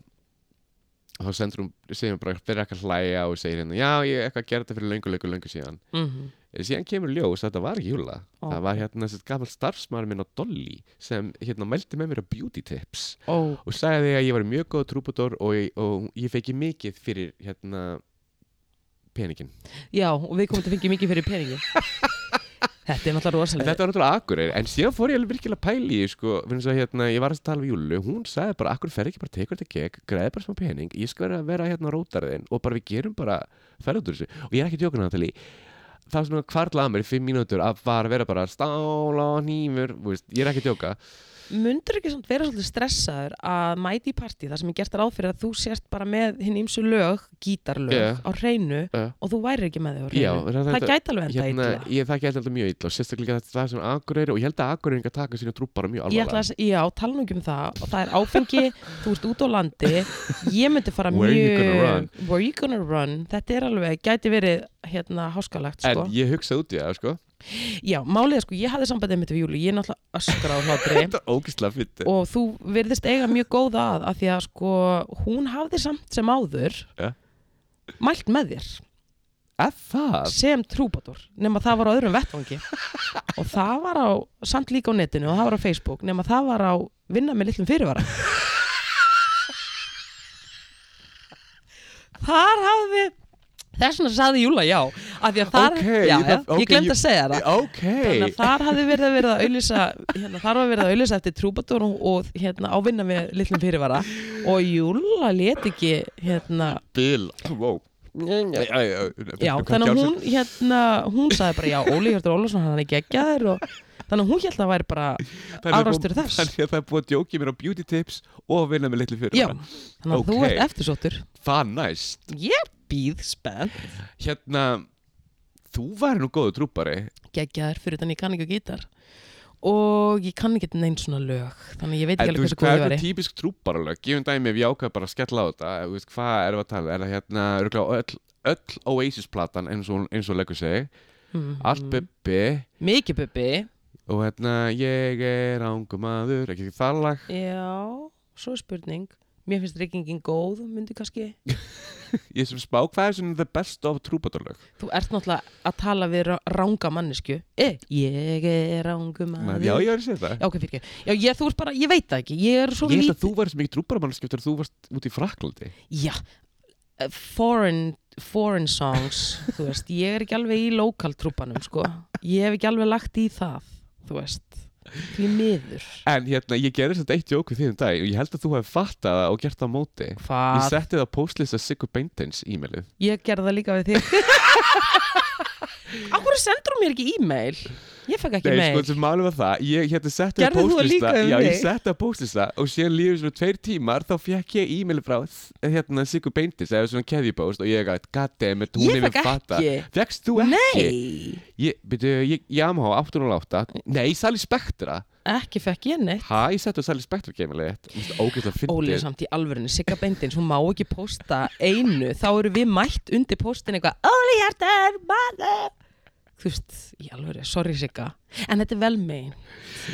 og þá sendur hún, segir hún bara fyrir eitthvað að hlæja og segir hérna, já, ég er eitthvað að gera þetta fyrir löngu, löngu, löngu síðan Eh, mm síðan kemur ljós að þetta var ekki júla Ó. það var hérna þessi gammal starfsmaður minn á Dolly sem hérna mældi með mér á beauty tips Ó, og sagði að ég var mjög góð trúbútor og, ég- og ég fekk ég mikið fyrir hérna peningin Já, og við komum til að fengja mikið fyrir peningi Þetta er náttúrulega En rosalega þetta var náttúrulega akkurir, en síðan fór ég alveg virkilega pæli í, því, sko, fyrir þess að hérna, ég var að tala við Júlu, hún sagði bara, akkur fer ekki bara tekur þetta kek, græði bara smá pening, ég skal vera, vera hérna rótarðin og bara við gerum bara ferð út úr þessu, og ég er ekki tjókun að tala í, það var svona hvarla að mér í fimm mínútur að bara vera bara stála og nýmur, veist, ég er ekki að tjóka, Mundur ekki samt vera svolítið stressaður að mæti í partí þar sem ég gert ráð fyrir að þú sért bara með hinn ímsu lög, gítarlög Já. á hreinu Já. og þú væri ekki með þau á já, hreinu þetta, Það gæti alveg enda hérna, illa ég þekki alltaf mjög illa og sérstaklega þetta það sem akkurir og ég held að akkurir að taka sína trúpara mjög Ég ætla alvarlega. að, s- já, tala nú ekki um það og það er áfengi, þú ert út á landi ég myndi fara Where you mjög gonna run? Where you gonna run þetta er alveg, gæti verið hérna háskalagt sko. En ég hugsa út í það, sko. Já, málið er sko, ég hafði sambandið mitt við Júli, ég er náttúrulega öskra á hlátri Þetta er ógislega fyndið. og þú virðist eiga mjög góða að af því að sko, hún hafði samt sem áður Ja. mælt með þér Er það? sem trúbadur nema það var á öðrum vettvangi og það var á, samt líka á netinu og það var á Facebook, nema það var á vinna með litlum fyrirvara Þar hafði þess vegna sagði Júla já af því að þar, Ok, já, ég já, þarf- ok, ég glemt ég- að segja það Ok Þannig að þar hafði verið að verið að auðlýsa hérna, þar var verið að auðlýsa eftir trúbatur og, og hérna, ávinna með litlum fyrirvara og Júla let ekki hérna, Bill wow. já, þannig að hún hérna, hún sagði bara já, Óli Hjörtur Ólafsson hann er geggjaður og þannig að hún held að það væri bara afrakstur þess. Þannig að það er búið að djókið mér á beauty tips og að vinna með litlu fyrir já, þannig að þú Ókei. ert eftirsóttur Það er næst ég býð spennt Hérna, þú væri nú góðu trúpari geggjaður fyrir þannig ég kann ekki að gítar og ég kann ekki neins svona lög þannig að ég veit ekki En þú alveg veist hversu góð hvað ég er það væri típisk trúparalög Gefum dæmi ef ég ákvað bara að skella á þetta Þú veist, Hvað erum við að tala? Er það hérna örugglega öll, öll Oasis-platan eins og, hún- eins og leggur sig Mhm. Allt bubbi mikið bubbi Og hérna ég er ángum maður Ekki það lag Já, svo er spurning Mér finnst reykingin góð, myndi kannski Ég sem spá hvað er svona the best of trúparalög Þú ert náttúrulega að tala við ra- ranga mannesku e, Ég er ranga maður Já, ég er að segja það Já, ok, fyrir ekki Já, ég, þú ert bara, ég veit það ekki Ég er svo Ég held lít að þú værið sem ekki trúbaramanniski eftir að þú varst út í Fraklandi Já, eh, foreign, foreign songs Þú veist, ég er ekki alveg í lokaltrúpanum, sko Ég hef ekki alveg lagt í það Þú veist, því miður En hérna, ég gerði þetta eitt jók við því um dag og ég held að þú hefði fattað það og gert það á móti Ég Hvað? setti það á postlista Siggu Beintens e-mailið Ég gerði það líka við þig Akkur sendur hún mér ekki e-mail? Ég fekk ekki Nei, e-mail sko, sem málum var það Ég hérna setti það á Gerðir þú það postlista líka um Já, ég mig? setti það á postlista og síðan lífið svona tveir tímar þá fekk ég e-mailið frá hérna Siggu Beintens eða svona keðjubóst og ég gætt, goddammit, hún Ég hefur fékk fattað ekki. Fekkst þú ekki? Nei, Ég, byrju, ég, Yamaha 808 Nei, Sally Spectra ekki fekk ég neitt Hæ, ég setti á Sally Spectra geimilið Ógæslega Óli fyndið samt í alvörinu, Sigga Bendins hún má ekki posta einu þá eru við mætt undir postin eitthvað Óli Hjartar, maður Þú veist, í alvöru, sorry Sigga en þetta er vel megin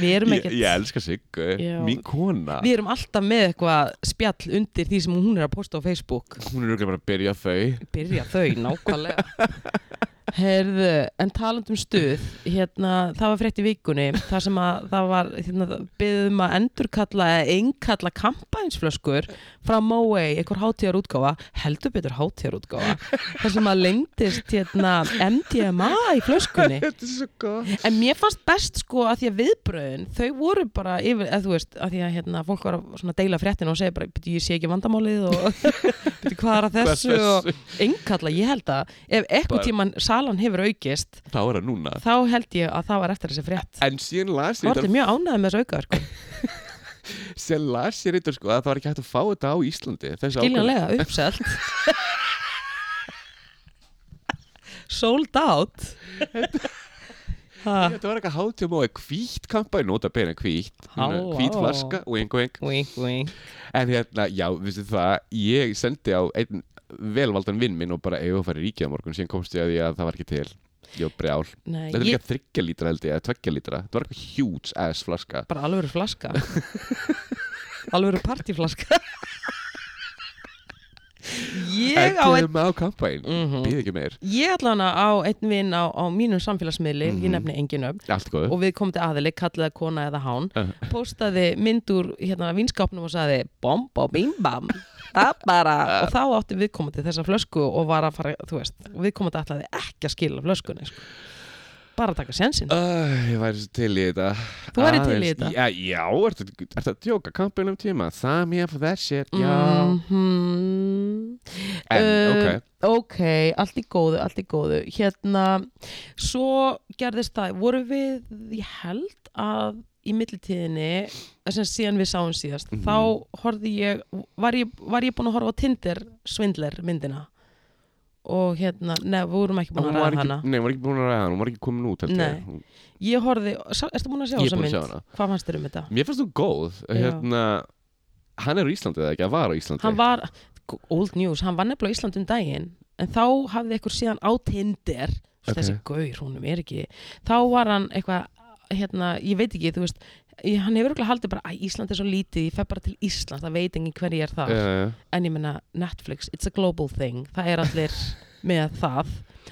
Við erum ég, ekkert, ég elska Siggu, Já. mín kona við erum alltaf með eitthvað spjall undir því sem hún er að posta á Facebook hún er auðvitað bara að byrja þau Byrja þau, nákvæmlega Herðu, en talandum stuð hérna, það var frétt í vikunni það sem að það var hérna, byggðum að endurkalla eða einkalla kampænsflöskur frá Móei, einhver hátíðar útgáfa heldur betur hátíðar útgáfa þar sem að lengdist hérna, MDMA í flöskunni þetta er svo gott En mér fannst best sko að því að viðbröðin þau voru bara yfir, eða þú veist að því að hérna, fólk var að svona deila fréttin og segja bara, "Bíddu, ég sé ekki vandamálið og byrju, hvað er að Hvað er þessu og yngkalla, ég held að ef eitthvað Bara- tíman salan hefur aukist þá er það núna þá held ég að það var eftir þessi frétt en síðan las Það ég var þetta þetta mjög ánæðið með sko. þessu aukaverku síðan las ég þetta sko að það var ekki hægt að fá þetta á Íslandi þessi ákvörðun. skiljanlega uppselt sold out ha, þetta var eitthvað hátíum á að hvítt kampa ég nota beina hvítt Halló. hvít flaska wing, wing. wink wink en hérna já vissi það ég sendi á einn velvaldan vinn minn og bara eigum að fara í ríkið á morgun síðan komst ég að því að það var ekki til ég var brjál Nei, þetta er ég líka þryggja lítra held ég eða tveggja lítra þetta var eitthvað huge ass flaska bara alvöru flaska alvöru partíflaska Ég á einn Endiðum á kampain mm Mhm. ekki meir Ég ætla hana á einn vinn á, á mínum samfélagsmiðli, ég Mhm. nefni engin öfn Allt góð og við komum til aðili, kallaði það kona eða hán Uh. postaði mynd úr hérna vinskápnum og sagði bom bom bim bam það bara, og þá átti viðkomandi þessa flösku og var að fara, þú veist og viðkomandi ætlaði ekki að skila flöskunni sko. bara að taka sensinn Uh, ég væri svo til í þetta Þú værir til í Aðeins- þetta? Já, já ertu, ertu að djóka kampain um tíma Það mér for that shit, Mm, já Mhm. En, Eh, ok ok, allt í góðu, allt í góðu hérna, svo gerðist það voru við, ég held að í millitíðinni eh, sem síðan við sáum síðast Mhm. þá horfði ég var, ég, var ég búin að horfa á Tinder svindler myndina og hérna, neða, við vorum ekki búin Hún að var ræða ekki, hana nei, hún var ekki búin að ræða hana Hún var ekki komin út, held Nei. ég Hún- ég horfði, sá, ertu búin að sjá Ég er þessa búin að mynd? sjá hana Hvað fannst þér um þetta? Mér fannst þú góð Já. hérna, Hann er á Íslandi eða ekki, hann var á Íslandi hann var, old news, hann var nefnilega á Ísland um daginn en þá hafði eitthvað síðan á Tinder Ok. okay. þessi gaur, húnum er ekki þá var hann eitthvað hérna, ég veit ekki, þú veist ég- hann hefur örugglega haldið bara, að Ísland er svo lítið ég fer bara til Ísland, það veit engin hver ég er þar uh, en ég meina Netflix, it's a global thing það er allir með það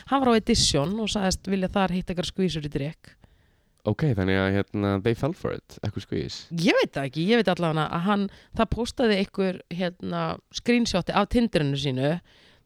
hann var á Edition og sagðist vilja þar hitta eitthvað skvísur í drikk Ok, þannig að hérna, they fell for it Ekkur skvís ég veit það ekki, ég veit allavega að hann það postaði einhver hérna, screenshoti af tindirinu sínu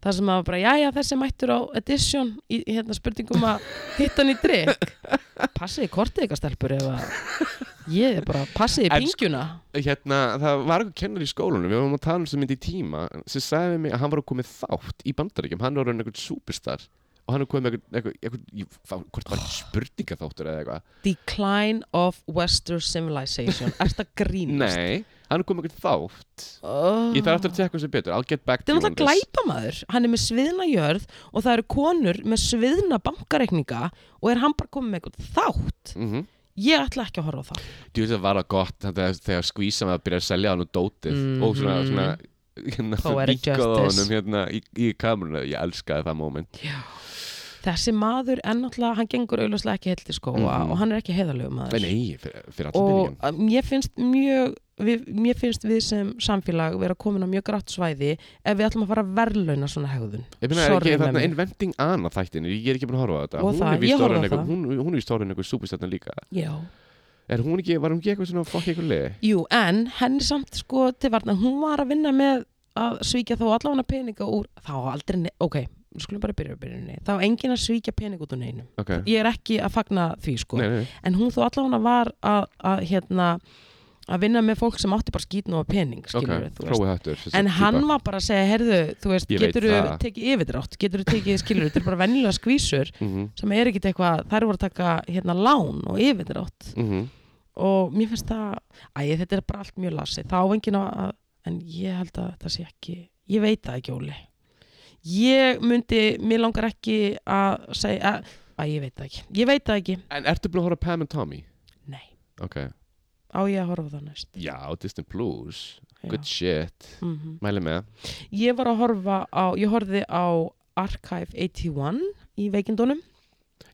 þar sem að bara, jæja, þessi mættur á edition í í, hérna, spurningum að hitta hann í drikk passiði kortið eitthvað stelpur ef að ég er bara, passiði En sko- pingjuna hérna, það var eitthvað kennar í skólanum við varum að tala um sem myndi í tíma sem sagði við mig að hann var að komið þátt í bandaríkjum hann var einhvern superstar og hann var komið með eitthvað, eitthvað, eitthvað ég, fá- hvort var Ah. oh. spurningaþáttur eða eitthvað Decline of Western Civilization Er þetta grínast? nei, hann var komið með eitthvað þátt oh. ég þarf aftur að tekka þessu betur, I'll get back Þetta to er you on náttúrulega this glæpamaður, hann er með sviðna jörð og það eru konur með sviðna bankareikninga og er hann bara komið með eitthvað þátt. mm -hmm. Ég ætla ekki að horfa á það. þú veist það var það gott þegar, þegar skvísa með að byrja að selja hann og dótið Mhm. og svona, svona hérna, Poetic vinkaði justice. honum, hérna, í, í kameruna, ég elskaði það moment þessi maður er náttúrulega, hann gengur auðvitað ekki heilt í skóa Mhm. og hann er ekki heiðalögu maður nei, fyrir, fyrir allan og peningin að, mér finnst mjög við, mér finnst við sem samfélag vera komin á mjög grátt svæði ef við ætlum að fara að verðlauna svona hegðun Ég meina, er ekki Sorry, þarna Lemmy. Inventing Anna þættinir, ég er ekki búin að horfa á þetta Og hún, það, er víst ég horfði orðin á einhver- það. hún, hún er í stórinu einhver súbistættin líka Já. Er hún ekki, var hún ekki eitthvað svona fokk eitthvað liði? Jú, en henni samt sko til varna, hún var að vinna með að svíkja þó allavega peninga úr þá á aldrei, ne- ok, við skulum bara byrja á byrjunni, þá er engin að svíkja pening út úr neinum Ok, ég er ekki að fagna því sko nei, nei, en hún þó allavega var að, að hérna að vinna með fólk sem átti bara skýtnum á pening ok, skilur þú veist hróið hættur þessi en týpa. hann var bara að segja, herðu, þú veist Ég veit getur þú það. tekið yfirdrátt, getur þú tekið skilur þetta er bara venjulega skvísur Mhm, sem er ekkit eitthvað, þær voru að taka hérna lán og yfirdrátt mhm. og mér finnst það, æ, þetta er bara allt mjög lasi, þá enginn að en ég held að þetta sé ekki ég veit það ekki, Óli ég myndi, mér langar ekki að segja, að, að ég veit það ekki ég veit það ekki, En ertu búin að horfa á Pam and Tommy? nei Ok, á ég að horfa á það næst já, Disney Plus Já. Good shit, Mhm. mæli með Ég var að horfa á, ég horfði á Archive 81 í veikindunum.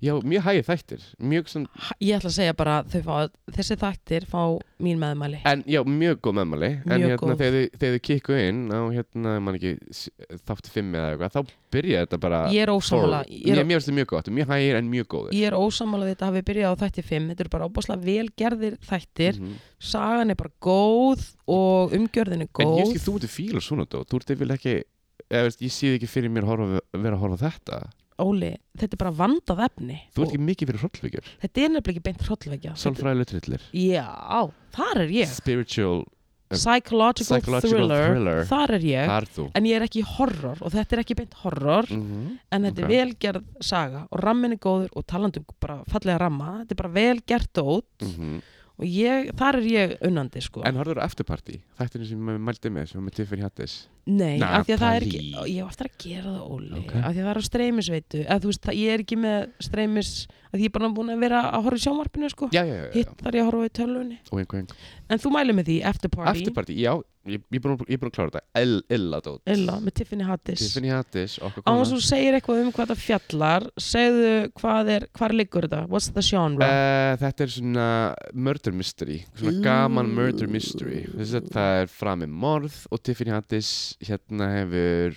Já, mjög hægir þættir, mjög svona Ha- Ég ætla að segja bara að þau fá, þessi þættir fá mín meðmæli. En já, mjög góð meðmæli En Mjög hérna, góð. þegar þið- þegar þau kikku inn á hérna, mann ekki, s- þátt fimm eða eitthvað þá byrjaði þetta bara Ég er ósamála, Horror. ég Mér er, mér finnst þetta mjög gott, mjög hægir en mjög góðir ég er ósamála við þetta hafi byrjað á þætti 5. Þetta eru bara óbáslega velgerðir þættir. Mhm. Sagan er bara góð og umgjörðin er En góð. ég veist ekki, þú ert að fíla svona dó Þú ert yfirlega ekki eða, veist, Ég sé ekki fyrir mér horfa, vera að horfa á þetta Óli, þetta er bara vandað efni. Þú ert ekki mikið fyrir hrollvíkjur Og Þetta er nefnilega ekki beint hrollvekja. Sálfræðileg trillir Já, þar er ég. Spiritual Psychological, Psychological thriller, thriller. þar er ég. Þar þú En ég er ekki í horror og þetta er ekki beint horror. mm -hmm. en þetta Ok. er velgerð saga og rammin er góður og talandum bara fallega ramma þetta er bara velgerð dót og ég, þar er ég unnandi sko mhm. En horfður á eftirparti Þættinu sem ég mældi með sem var með Tiffany Hattis nei, af því að það er ekki Natalie. ég á eftir að gera það óli Ok. af því að það er á streymisveitu eða þú veist, það, ég er ekki með streymis af því ég er bara búin að vera að horfa í sjónvarpinu sko Já, já, já, já. hitt þar ég að horfa í tölvunni Og einhver en þú mæli með því, after party Eftirparti, já ég, ég er búin að- ég er búin að klára þetta El, Illa dót Illa, með Tiffany Hattis Tiffany Hattis, Án okkar kona þess að þú segir eitthvað um hvað það fjallar segðu hvað er, hvar liggur þetta what's the genre Eh, þetta er svona murder mystery svona Ú. gaman murder mystery þess að það er fram með morð og Tiffany Hattis hérna hefur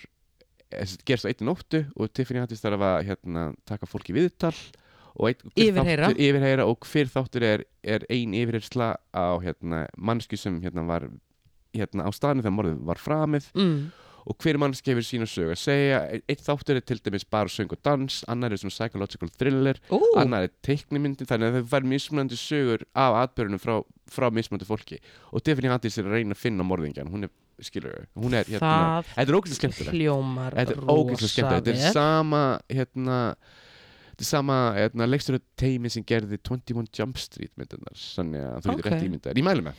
eh, sem sagt, gerst á einni nóttu og Tiffany Hattis þarf að hérna, taka fólki viðtal og ein, og hver Yfirheyra. þáttur, yfirheyra og hver þáttur er, er ein yfirheyrsla á hérna, mannsku sem hérna, var hérna, á staðinu þegar morðið var framið mm. og hver mannski hefur sína sög að segja eitt þáttur er til dæmis bara söng og dans annar er svona psychological thriller Ú, annar er teiknimyndin þannig að þau fær mismunandi sögur af atbyrjunum frá, frá mismunandi fólki og Tiffany Haddies er að reyna að finna morðingjan hún er, skilur, hún er hérna það þetta er ógæslega skemmtilegt hljómar þetta er ógæslega skemmtilegt þetta er vel. sama hérna þetta er sama hérna, leikstur teimi sem gerði 21 Jump Street myndunar þannig að þú getur Ok. rétt ímyndar ég mælu með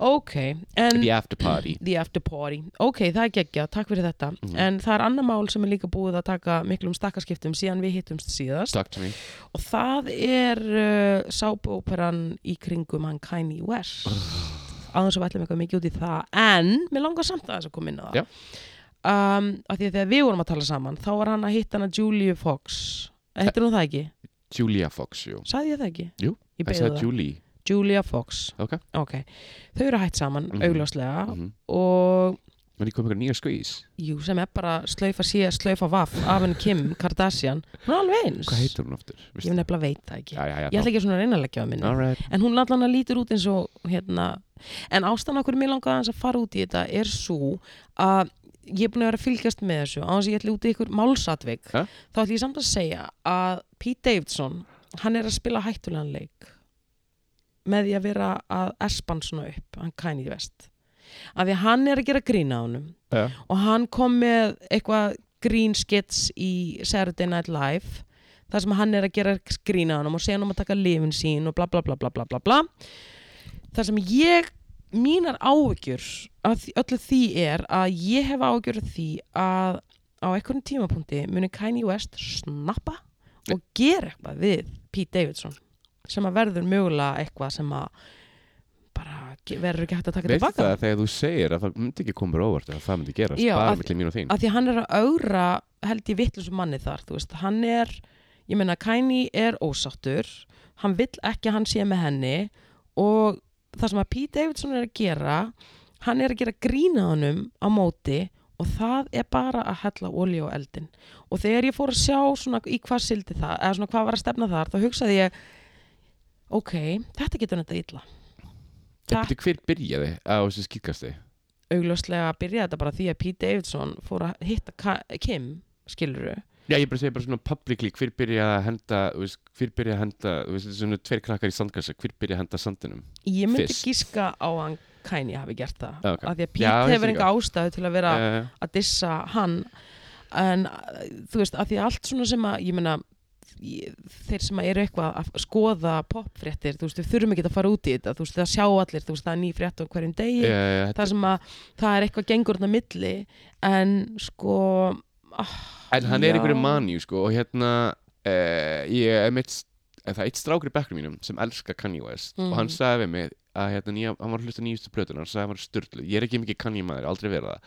ok, en The After Party The After Party ok, það er geggja, takk fyrir þetta Mhm. en það er annar mál sem er líka búið að taka miklum stakkaskiptum síðan við hittumst síðast Talk to me og það er uh, sápuóperan í kringum hann Kanye West aðeins og við ætlum eitthvað mikið út í það en mér langar samt aðeins að koma inn á það Já. um, af því að þegar við vorum að tala saman þá var hann að hitta hana Julia Fox heitir hún það ekki? Julia Fox, jú Saði ég það ekki? Jú, ég Það beigði það sagði Julie Julia Fox Ok. þau eru hætt saman Mhm. augljóslega mm -hmm. og En ég kom eitthvað nýja skvís jú, sem er bara slaufa síða, slaufa vaff af henn Kim Kardashian hún er alveg eins Hvað heitir hún aftur? ég nefnilega veit það ekki Já, já, já ég ætla ekki svona að reyna að leggja á minni All right en hún allan að lítur út eins og hérna, en ástæðan okkur mér langaði aðeins að fara út í þetta er svo að ég er búin að vera að fylgjast með þessu á þess að ég ætli út í ykkur málsatvik Ja. þá ætli ég samt að segja að Pete Davidson hann er að spila hættulegan leik með því að vera að espan svona upp, hann kæni í vest af því að hann er að gera grína á honum Já. og hann kom með eitthvað grín skits í Saturday Night Live þar sem hann er að gera grína á honum og segja hann um að taka lifin sín og bla bla bla bla bla bla bla þar sem ég mínar áhyggjur að öllu því er að ég hef áhyggjur af því að á einhvern tímapunkti muni Kanye West snappa og gera eitthvað við Pete Davidson sem að verður mögulega eitthvað sem að bara ge- verður ekki hægt að taka Veistu tilbaka það að þegar þú segir að það myndi ekki koma mér á óvart að það myndi gerast, Já, bara að- millir mín og þín að því að hann er að augra held ég vittlusum manni þar, þú veist, hann er ég meina Kanye er ósáttur hann vill ekki að hann sé með henni og það sem að Pete Davidson er að gera, hann er að gera grína honum á móti og það er bara að hella olíu á eldin og þegar ég fór að sjá svona í hvað sildi það, eða svona hvað var að stefna þar þá hugsaði ég ok, þetta getur þetta illa En byrju, hver byrjaði á þessu skýrkasti? augljóslega byrjaði þetta bara því að Pete Davidson fór að hitta Ka- Kim skiluru, Já, ég bara segi bara svona publicly, hver byrjaði að henda þú veist, hver byrjaði að henda, þú veist, þetta er svona tveir krakkar í sandkassa, hver byrjaði að henda sandinum Ég myndi Fyrst. gíska á að hann Kanye hafi gert það Já, ok. af því að Já, Pete ég hefur skil enga ástæðu til að vera uh, að dissa hann en uh, þú veist, af því að allt svona sem að ég meina ég- þeir sem að eru eitthvað að skoða popfréttir, þú veist, við þurfum ekki að fara út í þetta þú veist, það sjá allir, þú veist, það er ný frétt á hverjum degi, uh, það sem að það er eitthvað gengur þarna á milli en sko ah, En hann er já. einhverju manjú, sko, og hérna uh, ég er mitt en það er eitt strákur í bekknum mínum sem elskar Kanye West Mhm. og hann sagði við mig að hérna, nýja, hann var að hlusta nýjustu plötuna, hann sagði að hann var styrlu ég er ekki mikið Kanye maður, aldrei verið það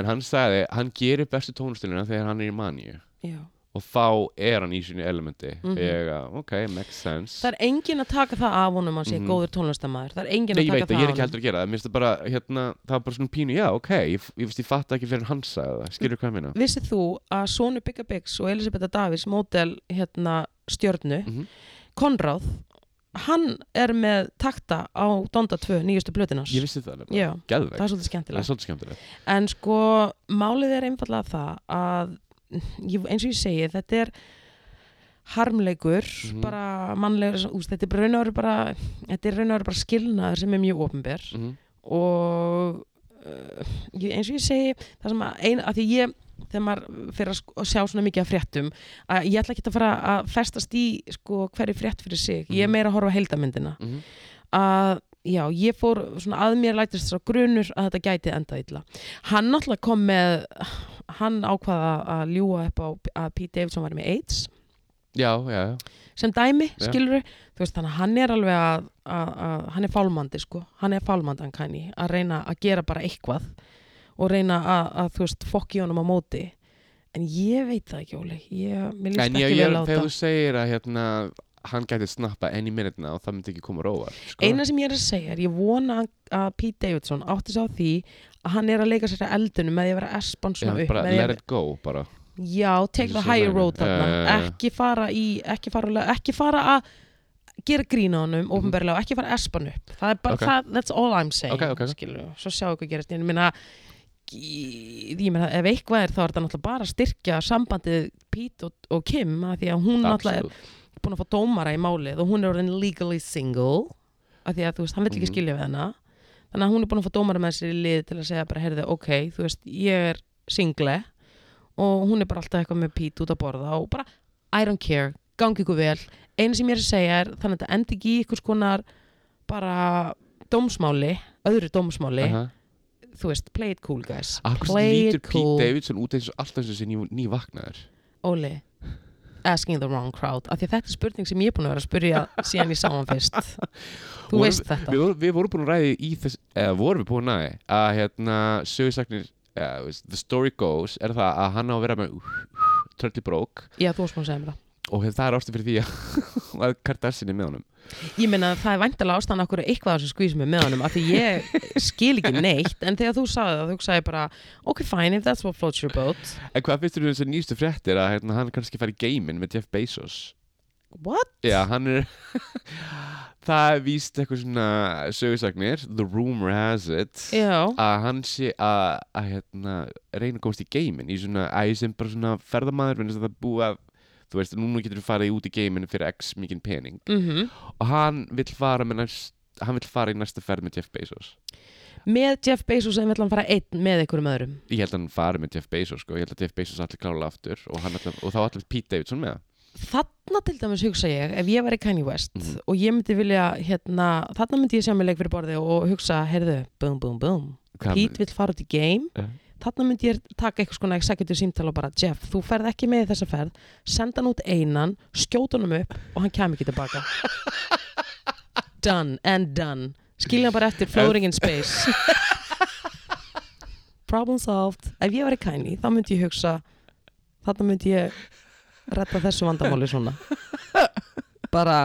en hann sagði, hann gerir bestu tónustilina þegar hann er í manju já. og þá er hann í sínu elementi Mhm. ég að, ok, makes sense það er engin að taka það af honum að sé Mhm. góður tónlistamæður, það er engin Nei, að ég taka það veit, það, ég af er ekki honum. heldur að gera það, mér finnst það bara, hérna, það var bara svona pínu, já, ok, ég, ég, ég, ég fatt ekki fyrir hans að það, skilur hvað ég meina? vissið þú að Sónu Bigga Biggs og Elisabetta Davies mótel hérna stjörnu, Mhm. Konráð hann er með takta á Donda 2, nýjustu blöðinars Ég vissi það alveg, Já, geðvegt, það er svolítið það er skemmtilegt svolítið skemmtilegt. en sko, málið er einfallega það að ég- eins og ég segi, þetta er harmleikur, Mhm. bara mannlegur, úst, þetta er bara raun og veru bara þetta er raun og veru bara skilnaður sem er mjög ofinber Mm og uh, ég- eins og ég segi það sem að eina, að því ég þegar maður fyrir að sk- að sjá svona mikið af fréttum að ég ætla ekki að fara að festast í sko hverju frétt fyrir sig ég er Mhm. meira að horfa á heildamyndina -hmm. að já, ég fór svona að mér lætist svo grunur að þetta gæti endað illa hann náttúrulega kom með hann ákvaða að ljúa upp á að Pete Davidson var með AIDS já, já, já. sem dæmi, Já. skilur þú veist, þannig að hann er alveg að, að, að hann er fálmandi, sko, hann er fálmandi hann kanni, að reyna að gera bara eitthvað og reyna að, að þú veist, fokki honum á móti en ég veit það ekki, Óli ég, mér líst En ekki ég, ég, vel á þegar það þú segir að hérna, hann gæti snappa enn í minutna og það myndi ekki koma róvar sko. eina sem ég er að segja er, ég vona að Pete Davidson átti sig á því að hann er að leika sér að eldunum með því að vera espan Já, svona upp bara með því að- let it go bara. Já, take the Þessi high læri. road Já, þarna já, já. ekki fara í, ekki fara, á le- ekki fara að gera grína honum ofinberlega og ekki fara að espa hann upp það er bara Mhm. Ok. það, that's all I'm saying Ok, ok, ok. skilurðu. svo sjáum við hvað gerist ég meina, í- ég meina, ef eitthvað er þá er þetta náttúrulega bara að styrkja sambandið Pete og, og Kim að því að hún náttúrulega Absolutt. er búin að fá dómara í málið og hún er orðin legally single að því að þú veist, hann vill ekki Mhm. skilja við hana þannig að hún er búin að fá dómara með sér í lið til að segja bara, heyrðu, ok, þú veist, ég er single og hún er bara alltaf eitthvað með pít út að borða og bara, I don't care, gangi ykkur vel eina sem ég er að segja er, þannig að þetta endi ekki í einhvers konar bara dómsmáli, öðru dómsmáli Aha. þú veist, play it cool guys Akkur sem play lítur it Pete cool, Davidson út eins og alltaf eins og þessi ný, ný vaknaður Óli asking the wrong crowd, af því að þetta er spurning sem ég er búin að vera að spurja síðan ég sá hann fyrst þú Vorum- veist þetta við, vorum- við vorum búin að ræði í þess eða vorum við búin að ræði að hérna sögursagnir eða, þú veist, the story goes er það að hann á að vera með uh, trölli brók já, þú varst búin að segja mér það og það er ástu fyrir því að, að Kardashian er með honum Ég meina það er væntalega ástæðan okkur eitthvað á þessu skvísum er með honum af því ég skil ekki neitt en þegar þú sagði það, þú sagði bara ok fine, if that's what floats your boat en hvað finnst þú þessi nýstu fréttir að hérna, hann kannski fari í geiminn með Jeff Bezos What? já, hann er það er víst eitthvað svona sögursagnir the rumor has it Já, að hann sé að, að hérna, reyna að komast í geiminn í svona, að ég sem bara svona ferðamaður minnst að það er búið að þú veist, núna getur þú farið út í geiminn fyrir x mikinn pening mhm og hann vill fara með næst hann vill fara í næsta ferð með Jeff Bezos Með Jeff Bezos en vill hann fara einn með einhverjum öðrum ég held að hann fari með Jeff Bezos sko. ég held að Jeff Bezos allir klála aftur og, hann allir, og þá allir Pete Davidson með Þarna til dæmis hugsa ég, ef ég væri Kanye West Mm. og ég myndi vilja, hérna þarna myndi ég sjá mig leik fyrir borði og hugsa heyrðu, boom, boom, boom Hvað- Pete vill fara út í game Já. þarna myndi ég taka eitthvað svona executive símtal og bara Jeff, þú ferð ekki með í þessa ferð senda hann út einan, skjóta hann upp og hann kemur ekki tilbaka done and done skilja hann bara eftir floating in space problem solved ef ég væri kæni, þá myndi ég hugsa þarna myndi ég retta þessu vandamáli svona bara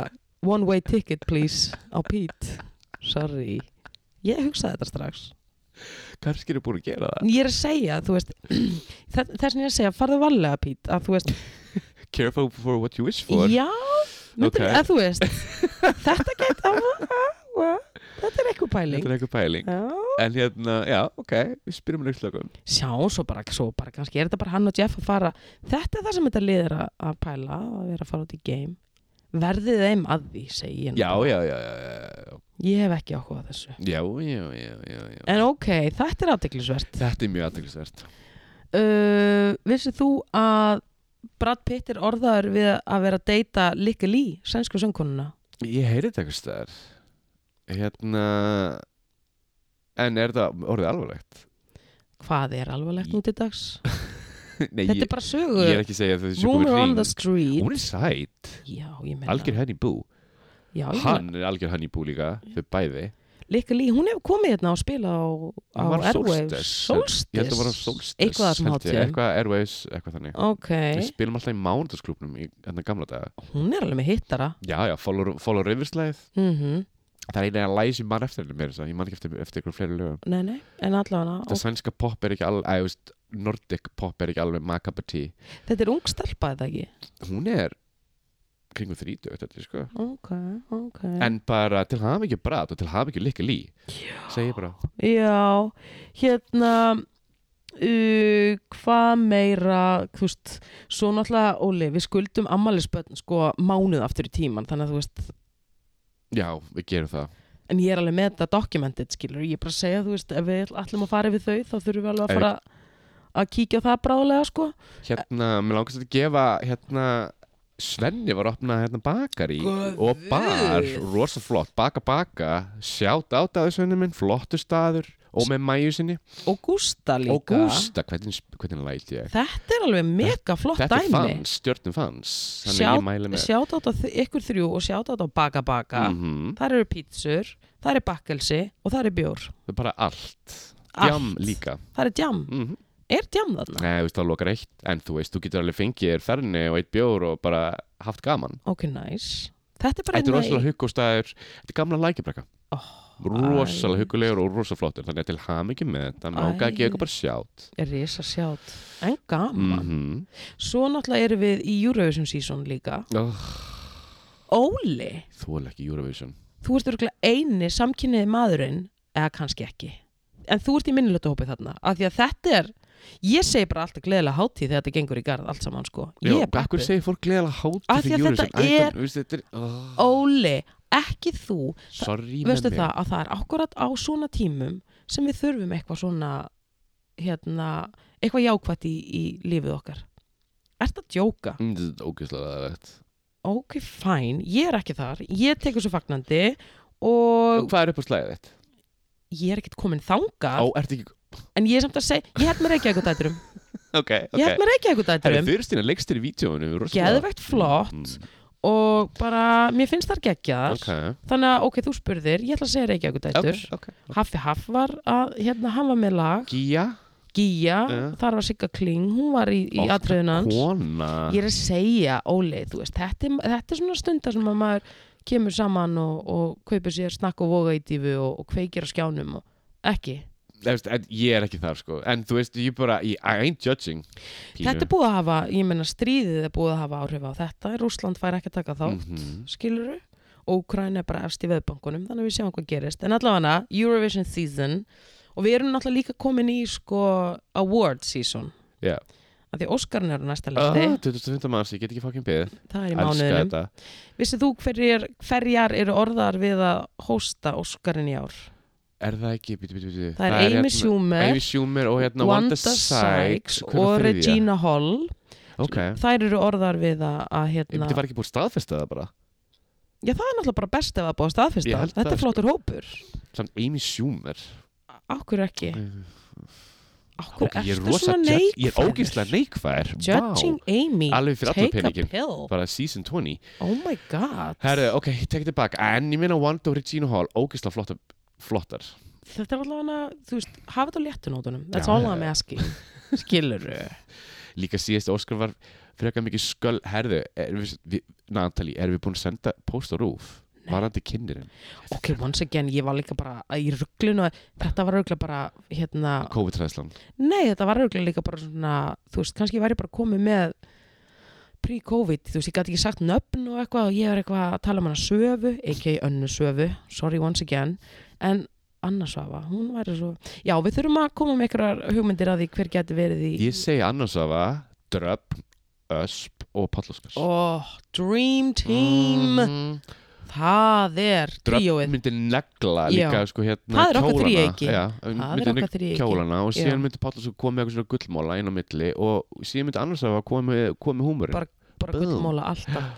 one way ticket please á Pete sorry, ég hugsaði þetta strax kannski eru búin að gera það ég er að segja, þú veist þess vegna ég er að segja, farðu varlega Pít að þú veist, careful for what you wish for já myndir, Ok. að þú veist þetta gett að þetta er eitthvað þetta pæling er eitthvað pæling Já. en hérna, já, ok, við spyrjum um hann auðvitað sjá, svo bara, svo bara kannski er þetta bara hann og Jeff að fara þetta er það sem þetta liðir að, að pæla að vera að fara út í game verðið þeim að því, segi ég nú já, bara. já, já, já, já, ég hef ekki áhuga á þessu já, já, já, já, já. en ok, þetta er aðdeglisvert Þetta er mjög aðtæklusvert uh, vissið þú að Brad Pitt er orðaður við að vera að deyta Likki Lee, sænsku söngkonuna Ég heyri þetta eitthvað stær Hérna En er þetta orðið alvarlegt? hvað er alvarlegt nú til dags Nei, þetta ég, er bara sögur ég er ekki að segja að þetta sé rumor komið on hring the street Hún er sætt, já, ég meina algjör henni bú já, ég meina- Hann er algjör henni bú líka, þau bæði Lika Lee, hún hefur komið hérna og spilað á, á Hann var á Airwaves Solstice. Solstice, Ég held að voru solstis eitthvað sem hátum Eitthvað Airways, eitthvað þannig ok, Við spilum alltaf í mánudasklubnum í hérna gamla daga hún er alveg með hittara Já, já, follow, follow riverslæð mm Það er eina að læsi mann eftir henni mér Ég man ekki eftir, eftir ykkur fleiri lögum nei, nei, en allavega Þetta sænska pop er ekki alveg, að, veist, nordic pop er ekki alveg makabatí þetta er ung stelpa eða ekki hún er kringum 30 þetta, er sko. ok, ok en bara til hafa ekki brætt og til hafa ekki líka lí segi ég bara Já, hérna uh, hvað meira þú veist, svo náttúrulega Óli, við skuldum ammælisbönn sko mánuð aftur í tíman, þannig að þú veist já, við gerum það en ég er alveg með þetta documented, skilur ég er bara að segja, þú veist, ef við ætlum að fara yfir þau þá þurfum við alveg Ef- að fara að kíkja á það bráðlega, sko hérna, mér langast að gefa hérna, Svenni var að opna hérna, bakari Guð. og bar rosa flott, baka baka sjátt át að þessu henni minn, flottu staður og með Mæju sinni og Gústa líka og Gústa, hvernig, hvernig læt ég þetta er alveg mega flott þetta er dæmi fans, stjörnum fans þannig Sjá- ég mæli með sjátt á ykkur þrjú og sjátt á baka baka Mhm. þar eru pítsur, þar er bakkelsi og þar er bjór það er bara allt, Allt. jam líka þar er djam, mm -hmm. er djam þarna? Nei, þú veist, það lokar eitt, en þú veist, þú getur alveg fengið þér ferni og eitt bjór og bara haft gaman. ok, næs þetta er bara Þetta er hérna í- rosalega huggustæður, þetta er gamla lækibrekka. Oh, æ. rosalega huggulegur og rosalega flottur, þannig að til ham ekki með þetta, Æ. náka Oh, að gefa ykkur bara sjátt. er risa sjátt, en gaman Mhm. svo náttúrulega erum við í Eurovision season líka Oh, Óli, þú er ekki Eurovision. þú ert örgulega eini samkynniði maðurinn, eða kannski ekki en þú ert í minnilötu hópið þarna af því að þetta er, ég segi bara alltaf gleðilega hátíð þegar þetta gengur í garð allt saman sko ég er Akkur pappi, segir fólk gleðilega Af hátt því að fyrir Eurovision. þetta Æ, er- þú veist, þetta er... Oh, Óli ekki þú, sorry með veistu mig. það að það er akkurat á svona tímum sem við þurfum eitthvað svona hérna, eitthvað jákvætt í, í lífið okkar Ert að djóka? Mm, Þetta er ógeðslega aðeins. Ok, fæn, ég er ekki þar ég tek þessu fagnandi og Hvað er upp á slæðið þitt? ég er ekkert komin þangað Ó, ertu ekki... En ég er samt að segja, ég held með Reykjavík dæturum Ok, Ég held ok. með Reykjavík Herri, dæturum Þurstina leikstir í vídjóinu. rosalega- Geðvegt flott Mm, Og bara, mér finnst þar geggjaðar Ok, Þannig að, ok, þú spurðir, ég ætla að segja Reykjavík dætur ok, ok. Haffi Haff var að, hérna, hann var með lag Gía Gía, Já. þar var Sigga Kling Hún var í, í Oft atriðunans Kona Ég er að segja, Óli, þú veist Þetta er, þetta er svona stundar sem að maður kemur saman og, og kaupir sér snakk og voga í dífu og, og kveikir á skjánum og, ekki, Þú veist, en ég er ekki þar sko En þú veist, ég bara, ég, I ain't judging þetta er búið að hafa ég meina stríðið er búið að hafa áhrif á þetta Rússland fær ekki að taka þátt Mm. Mhm. skiluru og Ukraina er bara efst í veðbankunum þannig að við sjáum hvað gerist en allavega Eurovision season og við erum náttúrulega líka komin í sko award season Já. að því Óskarinn er á næsta listi Ah, 25. mars, ég get ekki fucking beðið það er í Elska mánuðinum þetta vissið þú hverjar, hverjar eru orðar við að hósta Óskarinn í ár Er það ekki, býtu, býtu, býtu það er Amy Schumer, hérna Amy Schumer og hérna Wanda Sykes Hver og var þriðja? Regina Hall Ok, þær eru orðar við að, að ég hérna, býtu, var ekki búið að staðfesta það bara já það er náttúrulega bara best ef það er búið að Ég staðfesta held þetta það, er sko. flottur hópur Samt Amy Schumer Akkur ekki Ok, Akkur ég er ertu rosa svona judge- neikvæður Ég er ógeðslega neikvæðir Judging Amy, Alveg fyrir allan take a peninginn. pill Bara season 20 Oh my god Herru, ok, ég tek þetta bak En ég meina Wanda og Regina Hall Ógeðslega flottar, flottar Þetta er allavega, þú veist, hafa þetta á léttunótunum That's Já, all já, I'm já. asking Skilurðu líka síðast Óskar var frekar mikið sköll herðu, er við, við, Natalie, erum við búin að senda post á rúf, varandi kynnirinn Ok, once again, ég var líka bara í rugglinu Þetta var rugglinu bara, hérna COVID-ræðslan Nei, þetta var rugglinu líka bara svona Þú veist, kannski ég væri bara komið með pre-covid, þú veist, ég gæti ekki sagt nöfn og eitthvað og ég er eitthvað að tala um hana söfu ekki önnu söfu, sorry once again en Anna Svafa, hún væri svo Já, við þurfum að koma með einhverjar hugmyndir að því hver geti verið í ég segi annars af að Dröpp, Ösp og Pállóskars Oh, Dream Team Mm. Það er Dröpp tríóið myndi negla líka sko hérna Það er okkar kjólana. þríeiki. Já, Það myndi er okkar negla þrý ekki kjólana og síðan Já. myndi Pállóskar koma með eitthvað svona gullmóla inn á milli og síðan myndi annars af að koma með, koma með húmurinn Bara- Bara gullmóla alltaf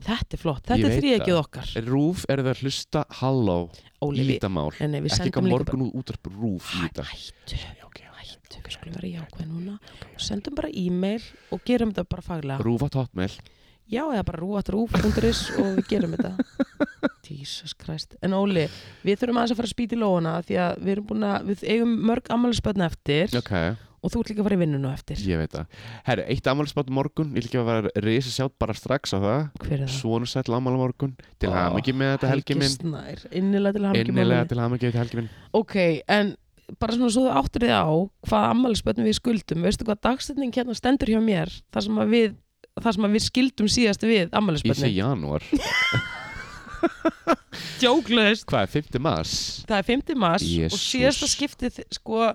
Þetta er flott, þetta Ég er veit þríeikið það. okkar Rúf er það að hlusta halló í Óliði, lítamál en við ekki ekki sendum líka morgun útarp rúf í bara lítamál Hættu, okay, hættu, við skulum vera jákvæð núna og sendum bara e-mail og gerum þetta bara faglega Rúfa tóttmel Já, eða bara rúatrúf.is og við gerum þetta Jesus Christ En Óli, við þurfum aðeins að fara að spýta í lóana því að við erum búin að, við eigum mörg ammælisbönn eftir Ok, og þú ert líka að fara í vinnuna á eftir ég veit það Herru, eitt ammálspátt morgun Ég vil ekki að vera reysa sjátt bara strax á það Hver er það? Svona sæll ammál morgun Ó, Til oh, hamingju með þetta helgi minn Snær, innilega til hamingju mamma Innilega mín. til hamingju þetta helgi minn Ok, en bara svona svo þú áttur þið á hvað ammælisbönnum við skuldum veistu hvað dagsetning hérna stendur hjá mér þar sem að við, þar sem að við skildum síðast við Ég ammælisbönnum segi janúar Jóklaust Hvað er 5. mars? Það er 5. mars og Jesús. síðasta skiptið sko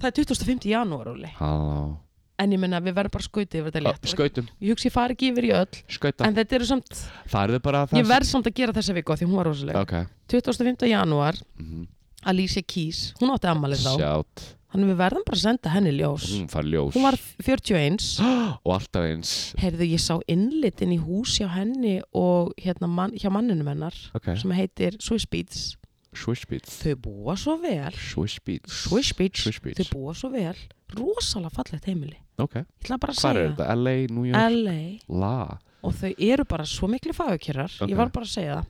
það er 25. janúar óli Halló en ég menna við verðum bara skautið yfir þetta Ö, létt Skautum, ég hugsi ég fari ekki yfir í öll skauta en þetta eru samt Það eru bara það ég verð samt að gera þessa viku af því hún var rosalega Ok 25. janúar Mhm. Alicia Keys hún átti ammælið þá Sjátt Þannig við verðum bara að senda henni ljós. Hún far Mm, ljós Hún var 41. Og alltaf eins Heyrðu, ég sá innlitin í hús hjá henni og hérna mann, hjá manninum hennar Ok sem heitir Swiss Beats. Swishbeats Þau búa svo vel Swishbeats Swiss Beach, Swiss Beach. Þau búa svo vel Rosalega fallegt heimili Ok, Ég ætla bara að hvað er segja þetta? LA, New York, LA La og þau eru bara svo miklu fagurkjörar Ok. ég var bara að segja það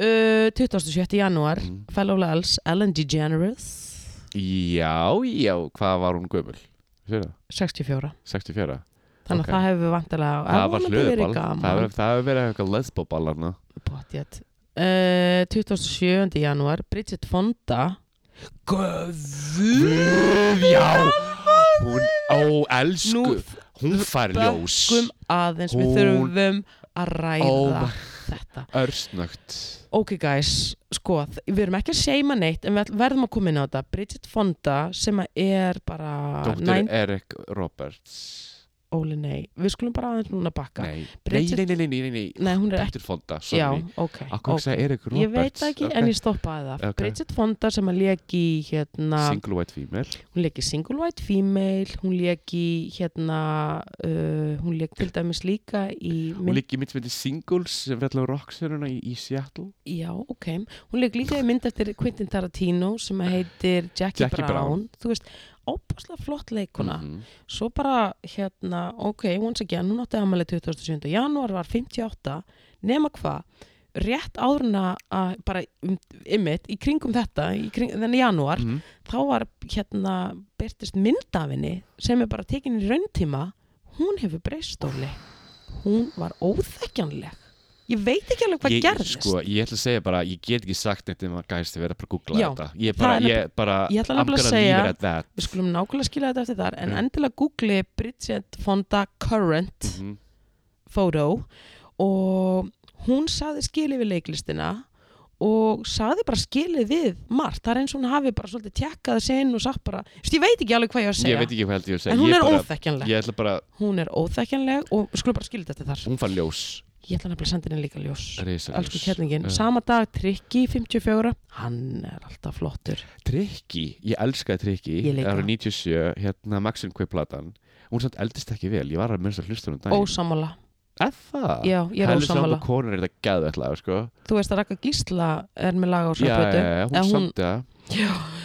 uh, 27. janúar, Mm. Fellow Lels Ellen DeGeneres Já, já, hvað var hún gömul? Sér það? 64, 64 þannig Ok. að það hefur vantilega Það var hlöðuball Það gaman hefur- það hefur verið eitthvað lesboball hana Pottétt. uh, 27. janúar Bridget Fonda Guð Já, hún, ó, elsku Nú Hún fær ljós Bökkum aðeins, við Hún- þurfum að Ó, ræða þetta Örsnögt ok guys, sko, þ- við erum ekki að seima neitt en við ætl- verðum að koma inn á þetta Bridget Fonda sem að er bara Dóttir næn, Erik Roberts óli nei, við skulum bara aðeins núna bakka nei, Nei, nei, Bridget- nei, nei, nei, nei, nei. hún er ekki, Dóttir Fonda, já, sorry ok, Akkur ok. okay. sagði Erik Roberts ég veit ekki ok. en ég stoppaði það Ok. Bridget Fonda sem að leki hérna, Single white female hún leki single white female hún leki hérna uh, hún leki til dæmis líka í Hún mynd, líki mitt myndi singles sem við ætlaðu rockseruna í, í Seattle já, ok hún leki líka í mynd eftir Quentin Tarantino sem að heitir Jackie, Jackie Brown. Brown. þú veist, óbáslega flott leikuna Mhm. svo bara hérna, ok, once again, hún átti ammali 27. janúar, var 58 nema hvað, rétt áðurna að bara um- ymmit í kringum þetta, í kring, þenni janúar Mhm. þá var hérna byrtist myndafinni sem er bara tekin í rauntíma, hún hefur breystóli, hún var óþekkjanleg, ég veit ekki alveg hvað ég, gerðist, Sko, ég ætla að segja bara, ég get ekki sagt neitt um að gæst þið vera bara að googla Já, þetta Ég það bara, er nefnilega- ég bara, ég ætla I'm nefnilega að gonna segja- leave it at that við skulum nákvæmlega skila þetta eftir þar, en Já. endilega googli Bridget Fonda Current Mhm. photo og hún saði skilið við leiklistina og saði bara skilið við margt, það er eins og hún hafi bara svolítið tjekkað sig inn og sagt bara, Þú veist, ég veit ekki alveg hvað ég á að Ég segja, veit ekki hvað held ég að segja en hún ég er bara, óþekkjanleg Ég ætla bara, hún er óþekkjanleg og við skulum bara skilja þetta þar hún fann ljós ég ætla nefnilega að senda henni líka ljós Risa elsku kjærningin, Já. sama dag Tryggi 54, hann er alltaf flottur Trikki, ég elskaði Trikki Ég líka. Ára 97, hérna Maxim Kveiplatan Hún samt eldist ekki vel, ég var að mennst að hlusta hún daginn ósamála, Er það? já, ég er ósamála Konur er þetta gæðvætla, sko þú veist að Raka Gísla er með laga á Já, svo já, plötu, já, En hún hún- samt það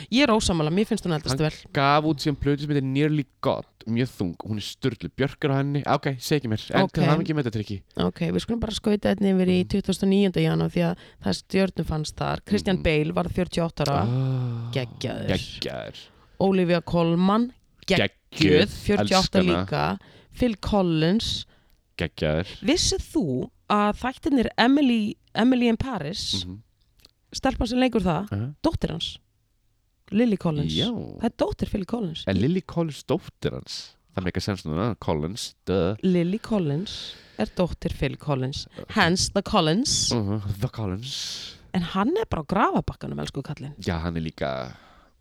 ég er ósamála, mér finnst hún eldast Hann- vel gaf út sem plötu sem heitir Nearly God mjög þung, hún er störtlu björkar á henni Ah, ok, segi ekki mér, en Ok. okay. það er ekki með þetta trikki Ok, við skulum bara skauta einnig yfir í Mhm. 2009. janúar því að það er stjörnum fannst þar. Christian Mhm. Bale var 48 ára, Ah. Ah. geggjaður. geggjaður Olivia Colman, geggjöð, 48 elskana. líka, Phil Collins. geggjaður Vissið þú að þættinir Emily, Emily in Paris, Mhm. stelpan sem leikur það, Aha. dóttir hans, Lily Collins. já, Það er dóttir Phil Collins. en Lily Collins dóttir hans það með ekki að semst núna, Collins duh. Lily Collins er dóttir Phil Collins, hence the Collins. Uh the Collins En hann er bara á grafabakkanum, elsku kallinn. já, hann er líka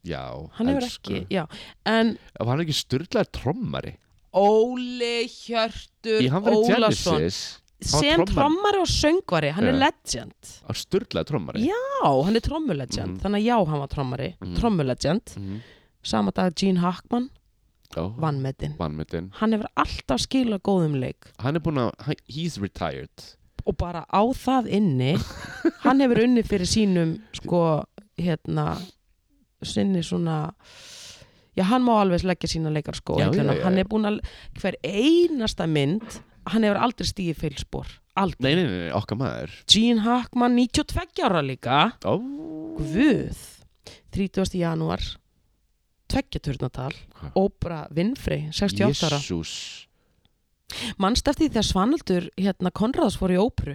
já, Hann hefur elsku. ekki, já, en og hann er ekki störtlaður trommari Óli Hjörtur í hann verið Ólason Genesis var sem trommari. trommari og söngvari hann er Já. legend hann störtlaður trommari Já. já, hann er trommulegend Mhm. þannig að já, hann var trommari, Mhm. trommulegend Mhm. sama dag Gene Hackman Já. vannmetinn, vannmyndin hann hefur alltaf skila góðum leik hann er búin að, hann- he's retired og bara á það inni hann hefur unni fyrir sínum sko, hérna sinni svona já, hann má alveg leggja sína leikar sko Já, já, já, hann já. er búin að, hver einasta mynd hann hefur aldrei stíði fylgspor aldrei Nei, nei, nei, nei, okkar maður Gene Hackman 92 ára líka Ó, Guð 30. janúar tveggjaturnatal Hva? Óbra Vinfrey, 68 ára Jésús mannst eftir því þegar Svanildur hérna Konrads fór í óperu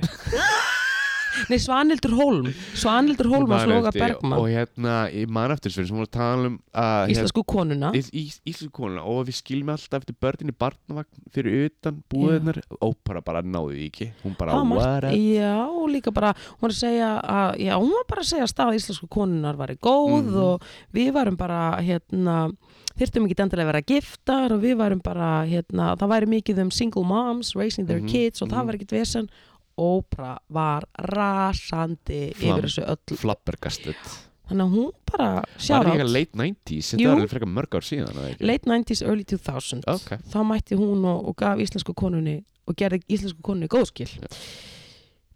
Nei, Svanildur Holm Svanildur Holm að slóga Bergman Og hérna, ég man eftir þessu fyrir sem voru að tala um að hérna, Íslensku konuna ís- ís- Íslensku konuna og við skilum alltaf eftir börnin í barnavagn fyrir utan búðunar Ópara bara náði því ekki Hún bara, Það var margt- what a Já, og líka bara, hún var að segja að, já, hún var bara að segja að staða íslensku konunar væri góð Mhm. og við varum bara, hérna, þyrftum ekki endilega að vera giftar og við varum bara, hérna, það væri mikið um single moms, raising their Mhm, kids og það mhm. var ekkit vesen. Ópra var rasandi Flam. yfir þessu öllu. flabbergastet Þannig að hún bara, Var sjára það ekki late 90s, Jú. þetta var alveg frekar mörg ár síðan eða ekki? late 90s, early 2000 Ok. þá mætti hún og, og gaf íslensku konunni og gerði íslensku konunni góðskil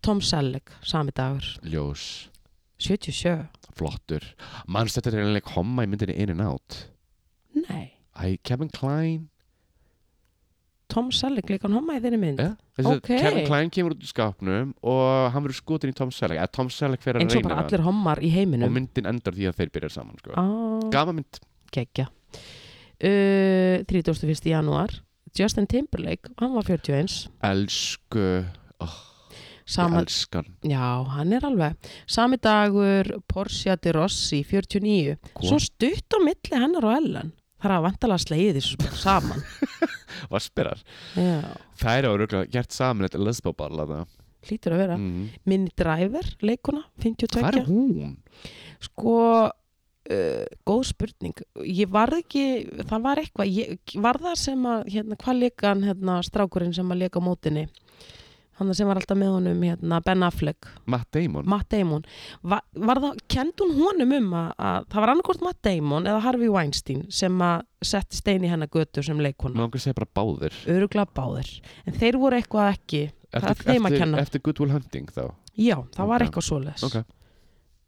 Tom Selleck, sami dagur Ljós 77? flottur mannst þetta er einlega homma í myndinni In and Out Nei, Æ, Kevin Klein Tom Selleck leik hann homma í þeirri mynd yeah. okay. Ok. Kevin Klein kemur út í skápnum og hann verður skotin í Tom Selleck eða Tom Selleck fer að eins og reyna bara það allir hommar í og heiminum myndin endar því að þeir byrja saman sko. ah, gama mynd geggja uh, 31. janúar Justin Timberlake, hann var 41 elsku, ég sama, elskan já, hann er alveg sami dagur Portia de Rossi 49, Hvor? svo stutt á milli hennar og Ellen, það er að vantala slegið þessu bara saman var spyrar já, það er árauglega gert saman þetta lesbó ball hlýtur að vera mm. Minnie Driver, leikuna, 52 hvað er hún? Sko, uh, góð spurning. Ég varð ekki, það var eitthvað, ég var það sem að, hérna, hvað leika hann, hérna, strákurinn sem að leika á mótinni? Hann sem var alltaf með honum, hérna, Ben Affleck, Matt Damon Matt Damon. Var, var það, kend hún honum um að, að það var annarkort Matt Damon eða Harvey Weinstein sem að setti stein í hennar götu sem leikuna. maður okkur segja bara báðir Öruglega báðir. En þeir voru eitthvað ekki, Það er þeim að eftir, kenna. eftir Good Will Hunting þá já, það var Ok. eitthvað svoleiðs. Ok.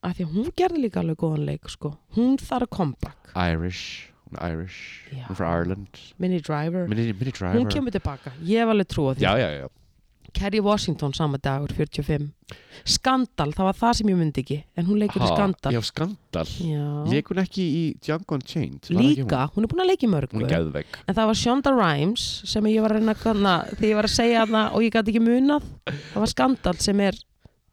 Af því að hún gerði líka alveg góðan leik, sko. Hún þarf að comeback. Irish, hún er Irish Já. hún er frá Ireland Minnie Driver. Minnie, Minnie Driver Hún kemur tilbaka, ég hef alveg trú á því já, já, já. Kerry Washington sama dagur, 45 Skandal, það var það sem ég myndi ekki En hún leikur í Ha, Skandal já, skandal Já. Lekur hún ekki í Django Unchained? Var það ekki Líka, hún er búin að leika í Hún, hún mörgu er geðvegg En það var Shonda Rhimes sem ég var að reyna að kanna Þegar ég var að segja hana og ég gæti ekki munað Það var Skandal sem er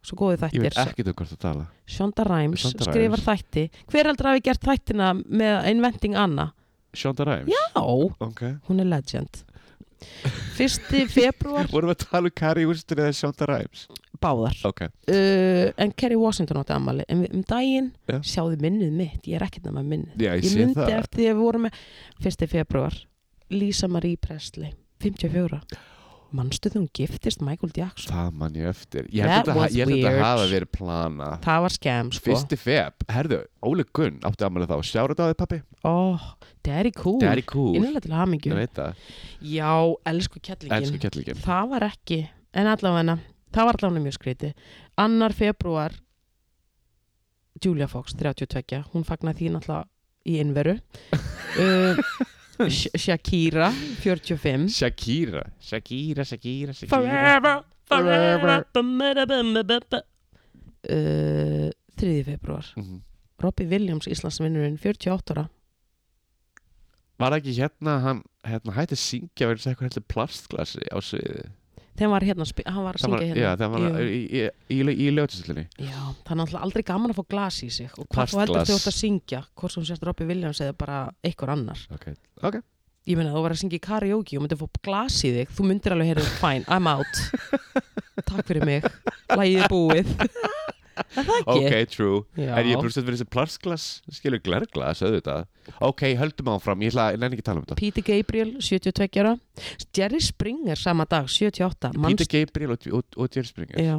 svo góði Ég veit þættir ekki þú hvort að tala Shonda Rhimes Shonda skrifar Rhimes. þætti Hver heldur að hafi gert þættina með Inventing Anna? Shonda Rhimes? Já, hún Ok er legend Fyrsti februar Vorum við að tala um Kari Úrstur eða Shonda Rhimes? báðar Ok uh, en Kerry Washington átti ammali en við- um daginn Já. sjáðu minnið mitt ég er ekkert nema minnið Já, ég, ég sé myndi það eftir því að við vorum með 1. februar Lisa Marie Presley 54 manstu þegar hún giftist Michael Jackson Það man ég eftir Ég That held að, was ég held að weird. þetta hafa verið plana það var skemm sko Fyrsti feb Herðu, Óli Gunn átti ammæli þá Sjára þetta á þig pappi oh, Derry Cool, Daddy cool innlega til Ég hamingju veit það já, elsku kettlingin Elsku kettlíkin það var ekki en allavega það var allavega mjög skreiti annar februar Julia Fox, 32 hún fagnar því náttúrulega í innveru uh, Sh Shakira 45 Shakira Shakira, Shakira, Shakira Mm. Forever, Forever. forever uh, 3. februar Mhm. Uh, Robbie Williams, Íslandsvinnurinn 48 ára Var það ekki hérna hann hérna hætti að syngja verið eitthvað heldur plastglasi á sviði þeim var hérna, spi- hann var að Það var- syngja hérna Já, það var Jú. í, í, í, í, í ljótisillinni Já, það er náttúrulega aldrei gaman að fá glas í sig og hvað þú heldur Plastglas. þú ert að syngja hvort sem sérst Robbie Williams eða bara einhver annar okay. ok. ég meina þú var að syngja í karaoke og myndir fá glas í þig þú myndir alveg heyra fine, I'm out takk fyrir mig, lægið er búið Er það ekki ok, true Já. Er ég brúst að vera þessi plastglas skilur glerglas, auðvitað Ok, höldum áfram, ég ætla að nefn ekki að tala um þetta Peter Gabriel, 72 ára Jerry Springer sama dag, 78 Peter Gabriel og, og, og Jerry Springer Já,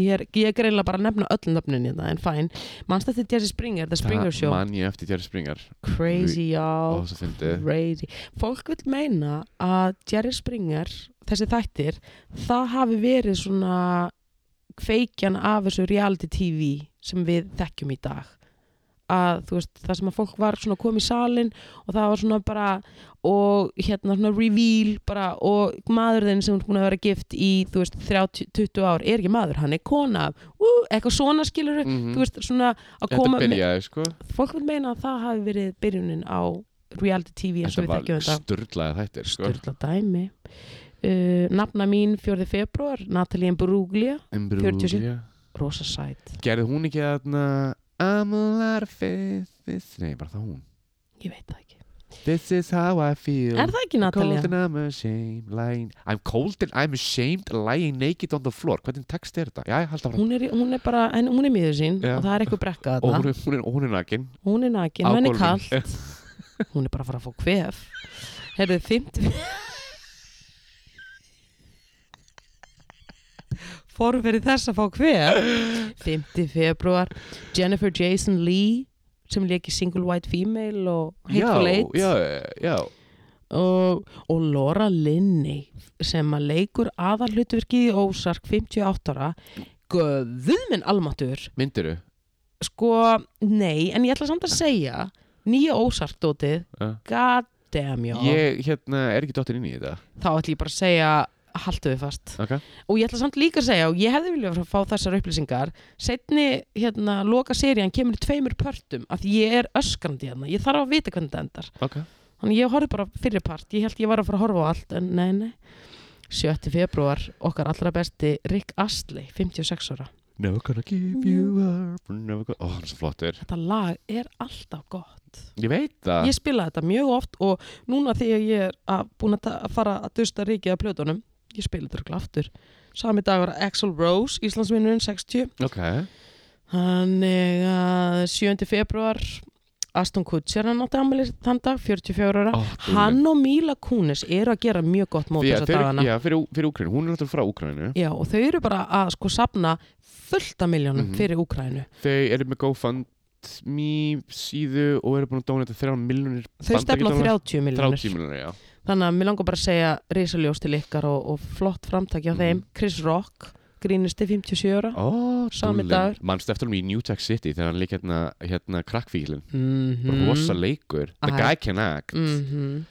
ég er, ég er greinlega bara að nefna öll nöfnin í það, en fine mannst þetta Jerry Springer, The Springer Show Það man ég eftir Jerry Springer crazy Ó, y'all svo fyndi crazy. Fólk vil meina að Jerry Springer, þessi þættir, það hafi verið svona kveikjan af þessu reality TV sem við þekkjum í dag. Að þú veist, það sem að fólk var svona kom í salin og það var svona bara og hérna svona reveal bara og maðurðin sem hún er búin að vera gift í þú veist 30, 20 ár er ekki maður, hann er kona, ú, eitthvað svona skilur mm þú veist svona að Þetta koma með- byrjaði, sko fólk vil meina að það hafi verið byrjunin á reality TV eins og Þetta við þekkjum var þetta sturlaði þættir, sko styrla dæmi uh, nafna mín 4. februar Natalie Bruglia, Embrúlía rosa sæt Gerði hún ekki þarna I'm a lot of faith this- Nei, bara það hún ég veit það ekki, This is how I feel er það ekki Natalie? Cold and I'm ashamed lying... I'm cold and I'm ashamed lying naked on the floor Hvernig text er þetta? Já, ég held að Hún er, í- hún er bara, en hún er miður sín Já. og það er eitthvað brekka Og þarna, hún er, hún er, hún er nakin hún er nakin Á henni er gólfinu. kallt, hún er bara að fara að fá kvef herðu, 50 fórum fyrir þess að fá kvef 5. februar Jennifer Jason Leigh sem leik í Single White Female og Hateful Já, Eight já, já og, og Laura Linney sem að leikur aðalhutverkið í Ósark 58 ára Guðminn almatur Myndiru sko, nei, en ég ætla samt að segja nýja ósartótið Uh, god damn já ég hérna, er ekki dottin inn í þetta þá ætla ég bara að segja haltu við fast okay. og ég ætla samt líka að segja og ég hefði viljað fá þessar upplýsingar setni hérna loka serían kemur í tveimur pörtum af því ég er öskrandi hérna ég þarf að vita hvernig þetta endar Okay. þannig ég horfði bara fyrir part ég held ég var að fara að horfa á allt en nei nei 7. februar okkar allra besti Rick Astley 56 ára Never gonna give you up never gonna... Ó, hann er svo flottur þetta lag er alltaf gott Ég veit það ég spila þetta mjög oft og núna þegar ég er að búin að ta- að fara að dusta rikið af plötunum ég spila þetta örugglega aftur sami dag var Axl Rose, Íslandsvinnurinn 60 Ok, þannig að 7. februar Aston Kutcher hann átti ammæli þann dag, 44 ára Ó, hann og Mila Kunis eru að gera mjög gott mót fyrir, þessa fyrir, dagana já, fyrir, Ú- fyrir Úkrænu, hún er náttúrulega frá Úkrænu Já, og þau eru bara að sko sapna fullt af miljónum Mhm. fyrir Úkrænu Þau eru með GoFundMe síðu og eru búin að dóna þetta þrjá miljonir þau stefna á 30 miljónur 30 miljonir, já Þannig að mér langar bara að segja risaljós til ykkar og, og flott framtaki á Mhm. þeim. Chris Rock, grínusti 57 ára. Ó, Sami dúllinn. dagur. Manstu eftir honum í New Tech City þegar hann leik hérna, hérna krakkfílin Mhm. Rosa leikur The Aha. guy can act Mhm.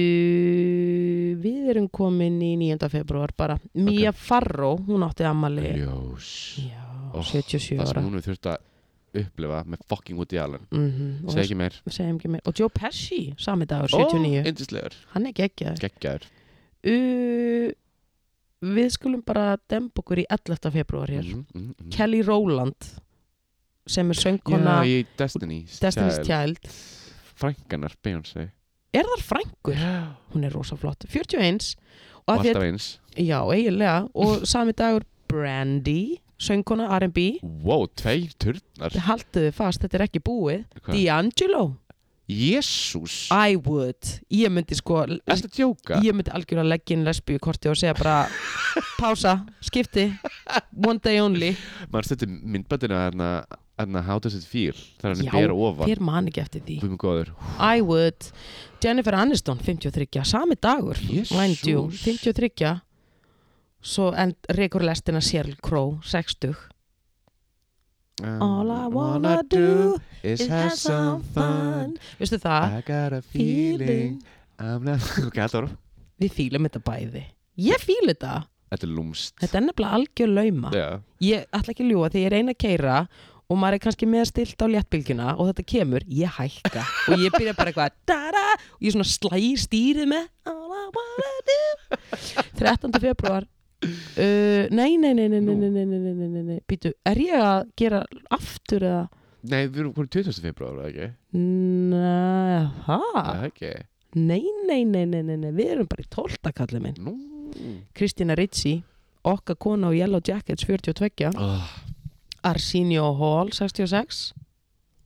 Uh, við erum komin í 9. februar bara. Mia Farrow, hún átti ammali. Ljós Já, Oh, 77 Það ára. sem hún við þurft að upplifa með fucking Woody Allen Mhm, og Segð ekki meir Segjum ekki meir. Og Joe Pesci, sami dagur, 79. Ó, Yndislegur Hann er geggjaður. Geggjaður Uh, við skulum bara demb okkur í 11. februar hér. Mhm, mhm, mhm. Kelly Rowland sem er söngkona Já, í Destiny's Destiny's Child. Child Frænkanar, Beyoncé er þar frængur, Já. hún er rosa flott 41 og Og að þetta, alltaf eins já eiginlega og sami dagur Brandy, söngkona R&B Wow, tveir turnar haldiðu fast, þetta er ekki búið D'Angelo, Jésús I would ég myndi sko, Ertu að djóka? ég myndi algjörlega leggja inn lesbíu korti og segja bara pása, skipti one day only, Maður stætti myndbættina þarna þarna How does it feel? Það er hann Já, að bera ofan þér man ekki eftir því Búið mig góður I would Jennifer Aniston, 53, sami dagur Jesús. mind you, 53 svo en rekur lestina Sheryl Crow, 60 Um, All I wanna do is is have some fun Vistu það, I got a feeling feeling I'm not Ok, þetta var Við fílum þetta bæði Ég fílu þetta, Þetta er lúmst þetta er nefnilega algjör lauma Já, Ég ætla ekki að ljúga því ég reyna að keira og maður er kannski með stilt á léttbylgjuna og þetta kemur, ég hækka og ég byrja bara eitthvað dara, og ég svona slæ í stýrið með all I wanna do 13. februar uh, nei, nei, nei, nei, nei, nei, nei, nei, nei, nei, nei. Býtu, er ég að gera aftur eða Nei, við erum hvernig 20. februar, ekki? Nei, Það það? ekki Nei, nei, nei, nei, nei, nei, við erum bara í 12. kallið minn. Nú Kristina Ritsi, okkar kona á Yellow Jackets 42, oh. Arsenio Hall 66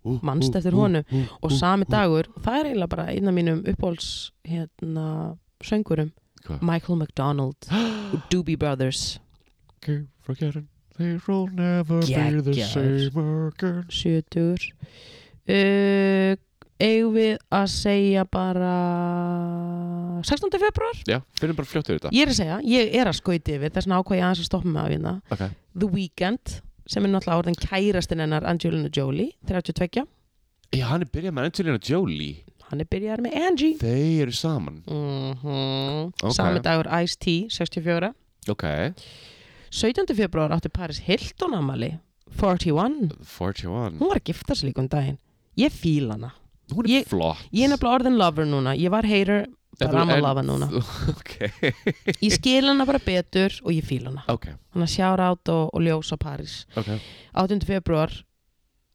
uh, Manst uh, eftir uh, honum. uh, og uh. sami dagur, það er eiginlega bara einn af mínum uppáhalds hérna, söngurum, Hvað? Michael McDonald og Doobie Brothers Keep forgetting They will never be the Geggjaður. same again 70 uh, eigum við að segja bara 16. februar Já, fyrir bara fljótt yfir þetta ég er að segja, ég er að skauti yfir þess að ákvað ég aðeins að stoppa með að vinna Ok, The Weeknd, sem er náttúrulega orðin kærastinn hennar Angelina Jolie, 32 já, hann er byrjað með Angelina Jolie hann er byrjar með Angie Þeir eru saman mm Ok. sami dagur Ice-T 64 Ok 17. februar átti Paris Hilton amali 41, 41 hún var að gifta sig líka um daginn ég fíl hana, Hún er Ég- flott ég er nefnilega orðin lover núna ég var hater, En bara þú- amma en- lover núna Ok, ég skil hana bara betur og ég fíl hana ok, hann að sjára át og, og ljósa Paris ok 18. februar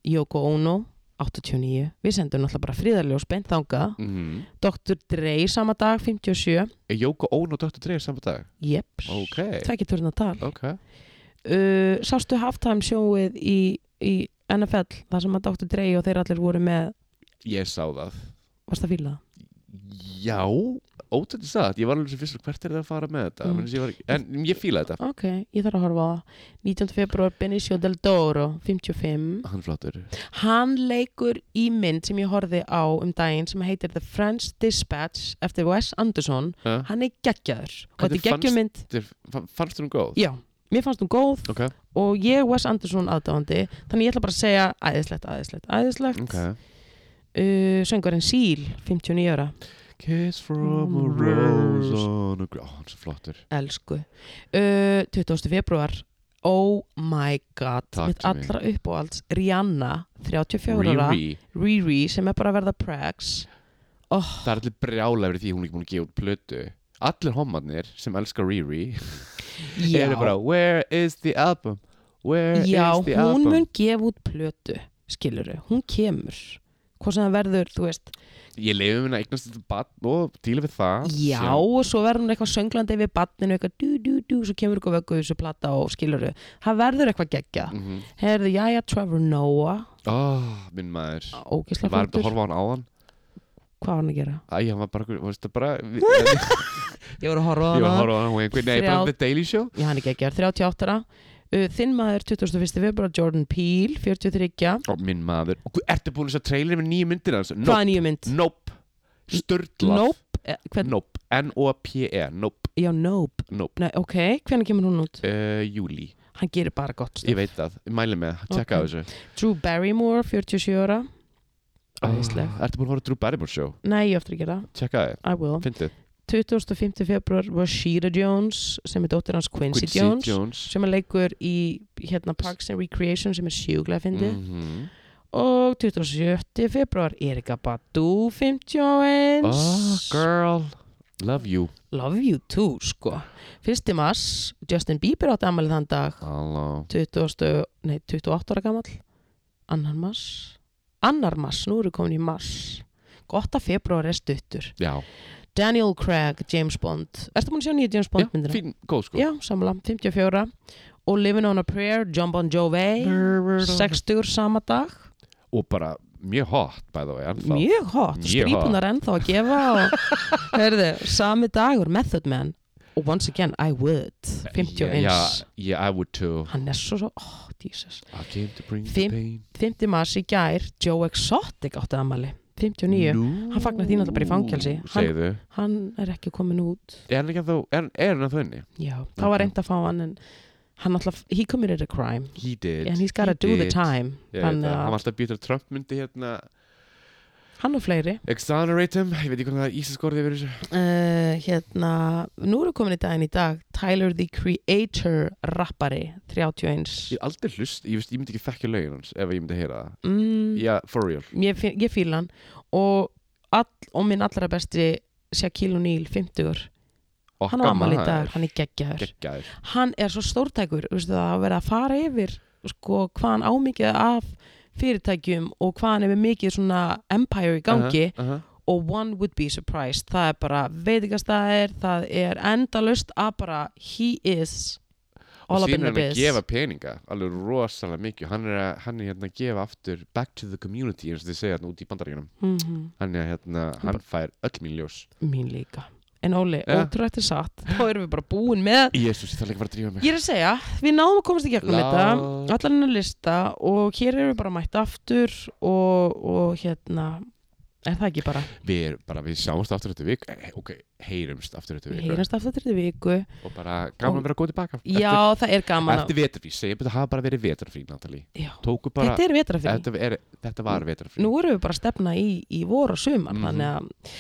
Yoko Ono 89, við sendum náttúrulega bara fríðarljós beint þangað, Mhm. Dr. Dre sama dag 57, Er Jóko Ón og Dr. Dre saman dag? jepp Ok, tvekki törna tal ok uh, sástu halftime sjóið í, í NFL þar sem að Dr. Dre og þeir allir voru með Ég sá það varst að fíla það? Já, ótætti satt Ég var alveg sem fyrst hvert er það að fara með þetta Mm. mm. ég var, En ég fíla þetta ok, ég þarf að horfa á það 19. februar Benicio del Toro 55, Hann er flottur hann leikur í mynd sem ég horfði á um daginn sem heitir The French Dispatch eftir Wes Anderson, Ha? hann er geggjaður og Hvernig þetta er geggjum mynd Þetta er- fa- Fannst þú hún góð? já, mér fannst hún góð ok, og ég Wes Anderson aðdáandi þannig ég ætla bara að segja æðislegt, æðislegt, æðislegt ok uh, söngurinn Síl, 59 ára Kiss from a Mm. rose on a gr- Ó, hann er svo flottur elsku uh, 20. februar oh my god, Takk mitt fyrir mig. allra uppáhalds Rihanna, 34 ára Riri, Riri sem er bara að verða pregs oh, það er allir brjála fyrir því hún er ekki búin að gefa út plötu Allir homarnir sem elskar Riri já, eru bara Where is the album? Where já is the hún album? mun gefa út plötu skiluru, hún kemur hvað sem það verður, þú veist Ég leiði mér að eignast þetta bann og díla við það já, Ah, Sjá. og svo verður hún eitthvað sönglandi við badninu, eitthvað dú, dú, dú, svo kemur eitthvað vöggu þessu plata og skiluru það verður eitthvað geggja Mhm. herðu, jæja, Trevor Noah Ó, minn maður ógislega Ég var eftir flottur, að horfa á hann á hann hvað var hann að gera? Æ, hann var bara, einhver- varstu bara Ég var ég voru að horfa á að hana horfa á hann og einhvern Nei, bara Þrjá- The Daily Show Já, hann er geggjar, 38 ára. uh, Þinn maður 21. februar Jordan Peele, 43 Ó, minn maður Og hvað- Ertu búin að segja trailer með nýju myndir hans? Hvað er nýju mynd? Nope Sturla Nope eh, hvern, Nope N-O-P-E E. Nope Já, Nope Nope Nei, Ok, hvernig kemur hún út? uh, Júli Hann gerir bara gott Ég stöf veit það Ég Mæli með Tjekka á Ok. þessu Drew Barrymore, 47 ára Æðisleg. Ah, Ertu búin að horfa á Drew Barrymore show? Nei, ég á eftir að gera, það. Tjekka það I will Fyndið 25. februar var Sheeta Jones sem er dóttir hans Quincy, Jones, Jones sem er leikur í hérna, Parks and Recreation sem er sjúglega fyndið Mhm. og 27. februar Erika Badu, 51 Oh, girl Love you Love you too, sko. Fyrsti mars, Justin Bieber átti ammælið þann dag, Halló 20, nei, 28 ára gamall, annar mars, annar mars, nú eru komin í mars. Gott að februar er stuttur. Já Daniel Craig, James Bond. Erstu búin að sjá nýja James Bond Já, myndina? Fín, góð sko Já, samla, 54. Og Living on a Prayer, John Bon Jovi, 60 sama dag. Og bara mjög hot by the way ennþá. Mjög hot, Mjög hot. strípunar ennþá að gefa og hörðu, sami dagur Method Man og once again I would Eh, 51 Já, já, yeah, I would too hann er svo svo, oh Jesus I came to bring Fimm- the pain 5. mars í gær, Joe Exotic átti aðmali, 59 Nú, Hann fagnar því náttúrulega bara í fangelsi. Hann- Segðu hann er ekki komin út Er hann ekki að þú, er, er hann að þú henni? já, það var reynd að fá hann en hann alltaf, he committed a crime He did and he's gotta do the time Ég veit þannig það, hann að var alltaf býtur að Trump myndi hérna hann og fleiri Exonerate him, ég veit ekki hvernig það íslensk orðið verið þessu uh, hérna, nú eru komin í daginn í dag Tyler the Creator rappari, 31 Ég er aldrei hlust, ég, veist, ég myndi ekki þekkja lögin hans ef ég myndi heyra það mm, Já, for real ég, fí- ég fíla hann og, all, og minn allra besti Shaquille O'Neal, 50 Okka hann á ammali í dag, hann er geggjaður Gekkjaður hann er svo stórtækur veistu, það að vera að fara yfir sko, hvað hann ámikið af fyrirtækjum og hvað hann er með mikið svona empire í gangi uh -huh. og one would be surprised það er bara veitingastæðir, það er endalust að bara he is all Og up in síðan the er hann að biz gefa peninga Alveg rosalega mikið Hann er, að, hann er hérna að gefa aftur Back to the community eins og þið segja hérna út í bandaríkunum Mhm, Hann er hérna, hann fær öll mín ljós mín líka en Óli, Ja. ótrúlega eftir satt þá erum við bara búin með Jésús, ég þarf ekki að fara að drífa mig Ég er að segja, við náðum að komast í gegnum Lá- þetta allan hennar lista og hér erum við bara mætt aftur og, og hérna er það ekki bara, Við, er, bara, við sjáumst aftur þetta vik eh, Ok, heyrumst aftur þetta við vik heyrast aftur þetta viku Og bara gaman Og- að vera góð tilbaka Já, það er gaman að Eftir vetrafrí, segjum þetta hafa bara verið vetrafrí, Natalie Já. Tóku bara, Þetta er vetrafrí, þetta, er, þetta var vetrafrí nú erum við bara að stefna í, í vor og sumar, Mhm. þannig að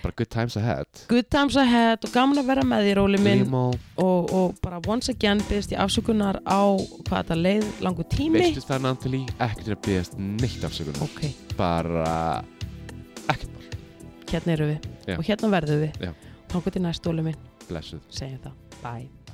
Bara good times ahead good times ahead og gaman að vera með þér Óli minn Limo, og, og bara once again byrðist ég afsökunar á hvað þetta leið langu tími veistu það Natalie Ekkert til að byggast neitt afsökunum Ok, Bara, ekkert mál hérna erum við Já. og hérna verðum við Já. Þannig til næst Óli minn, Blessuð segjum það, bye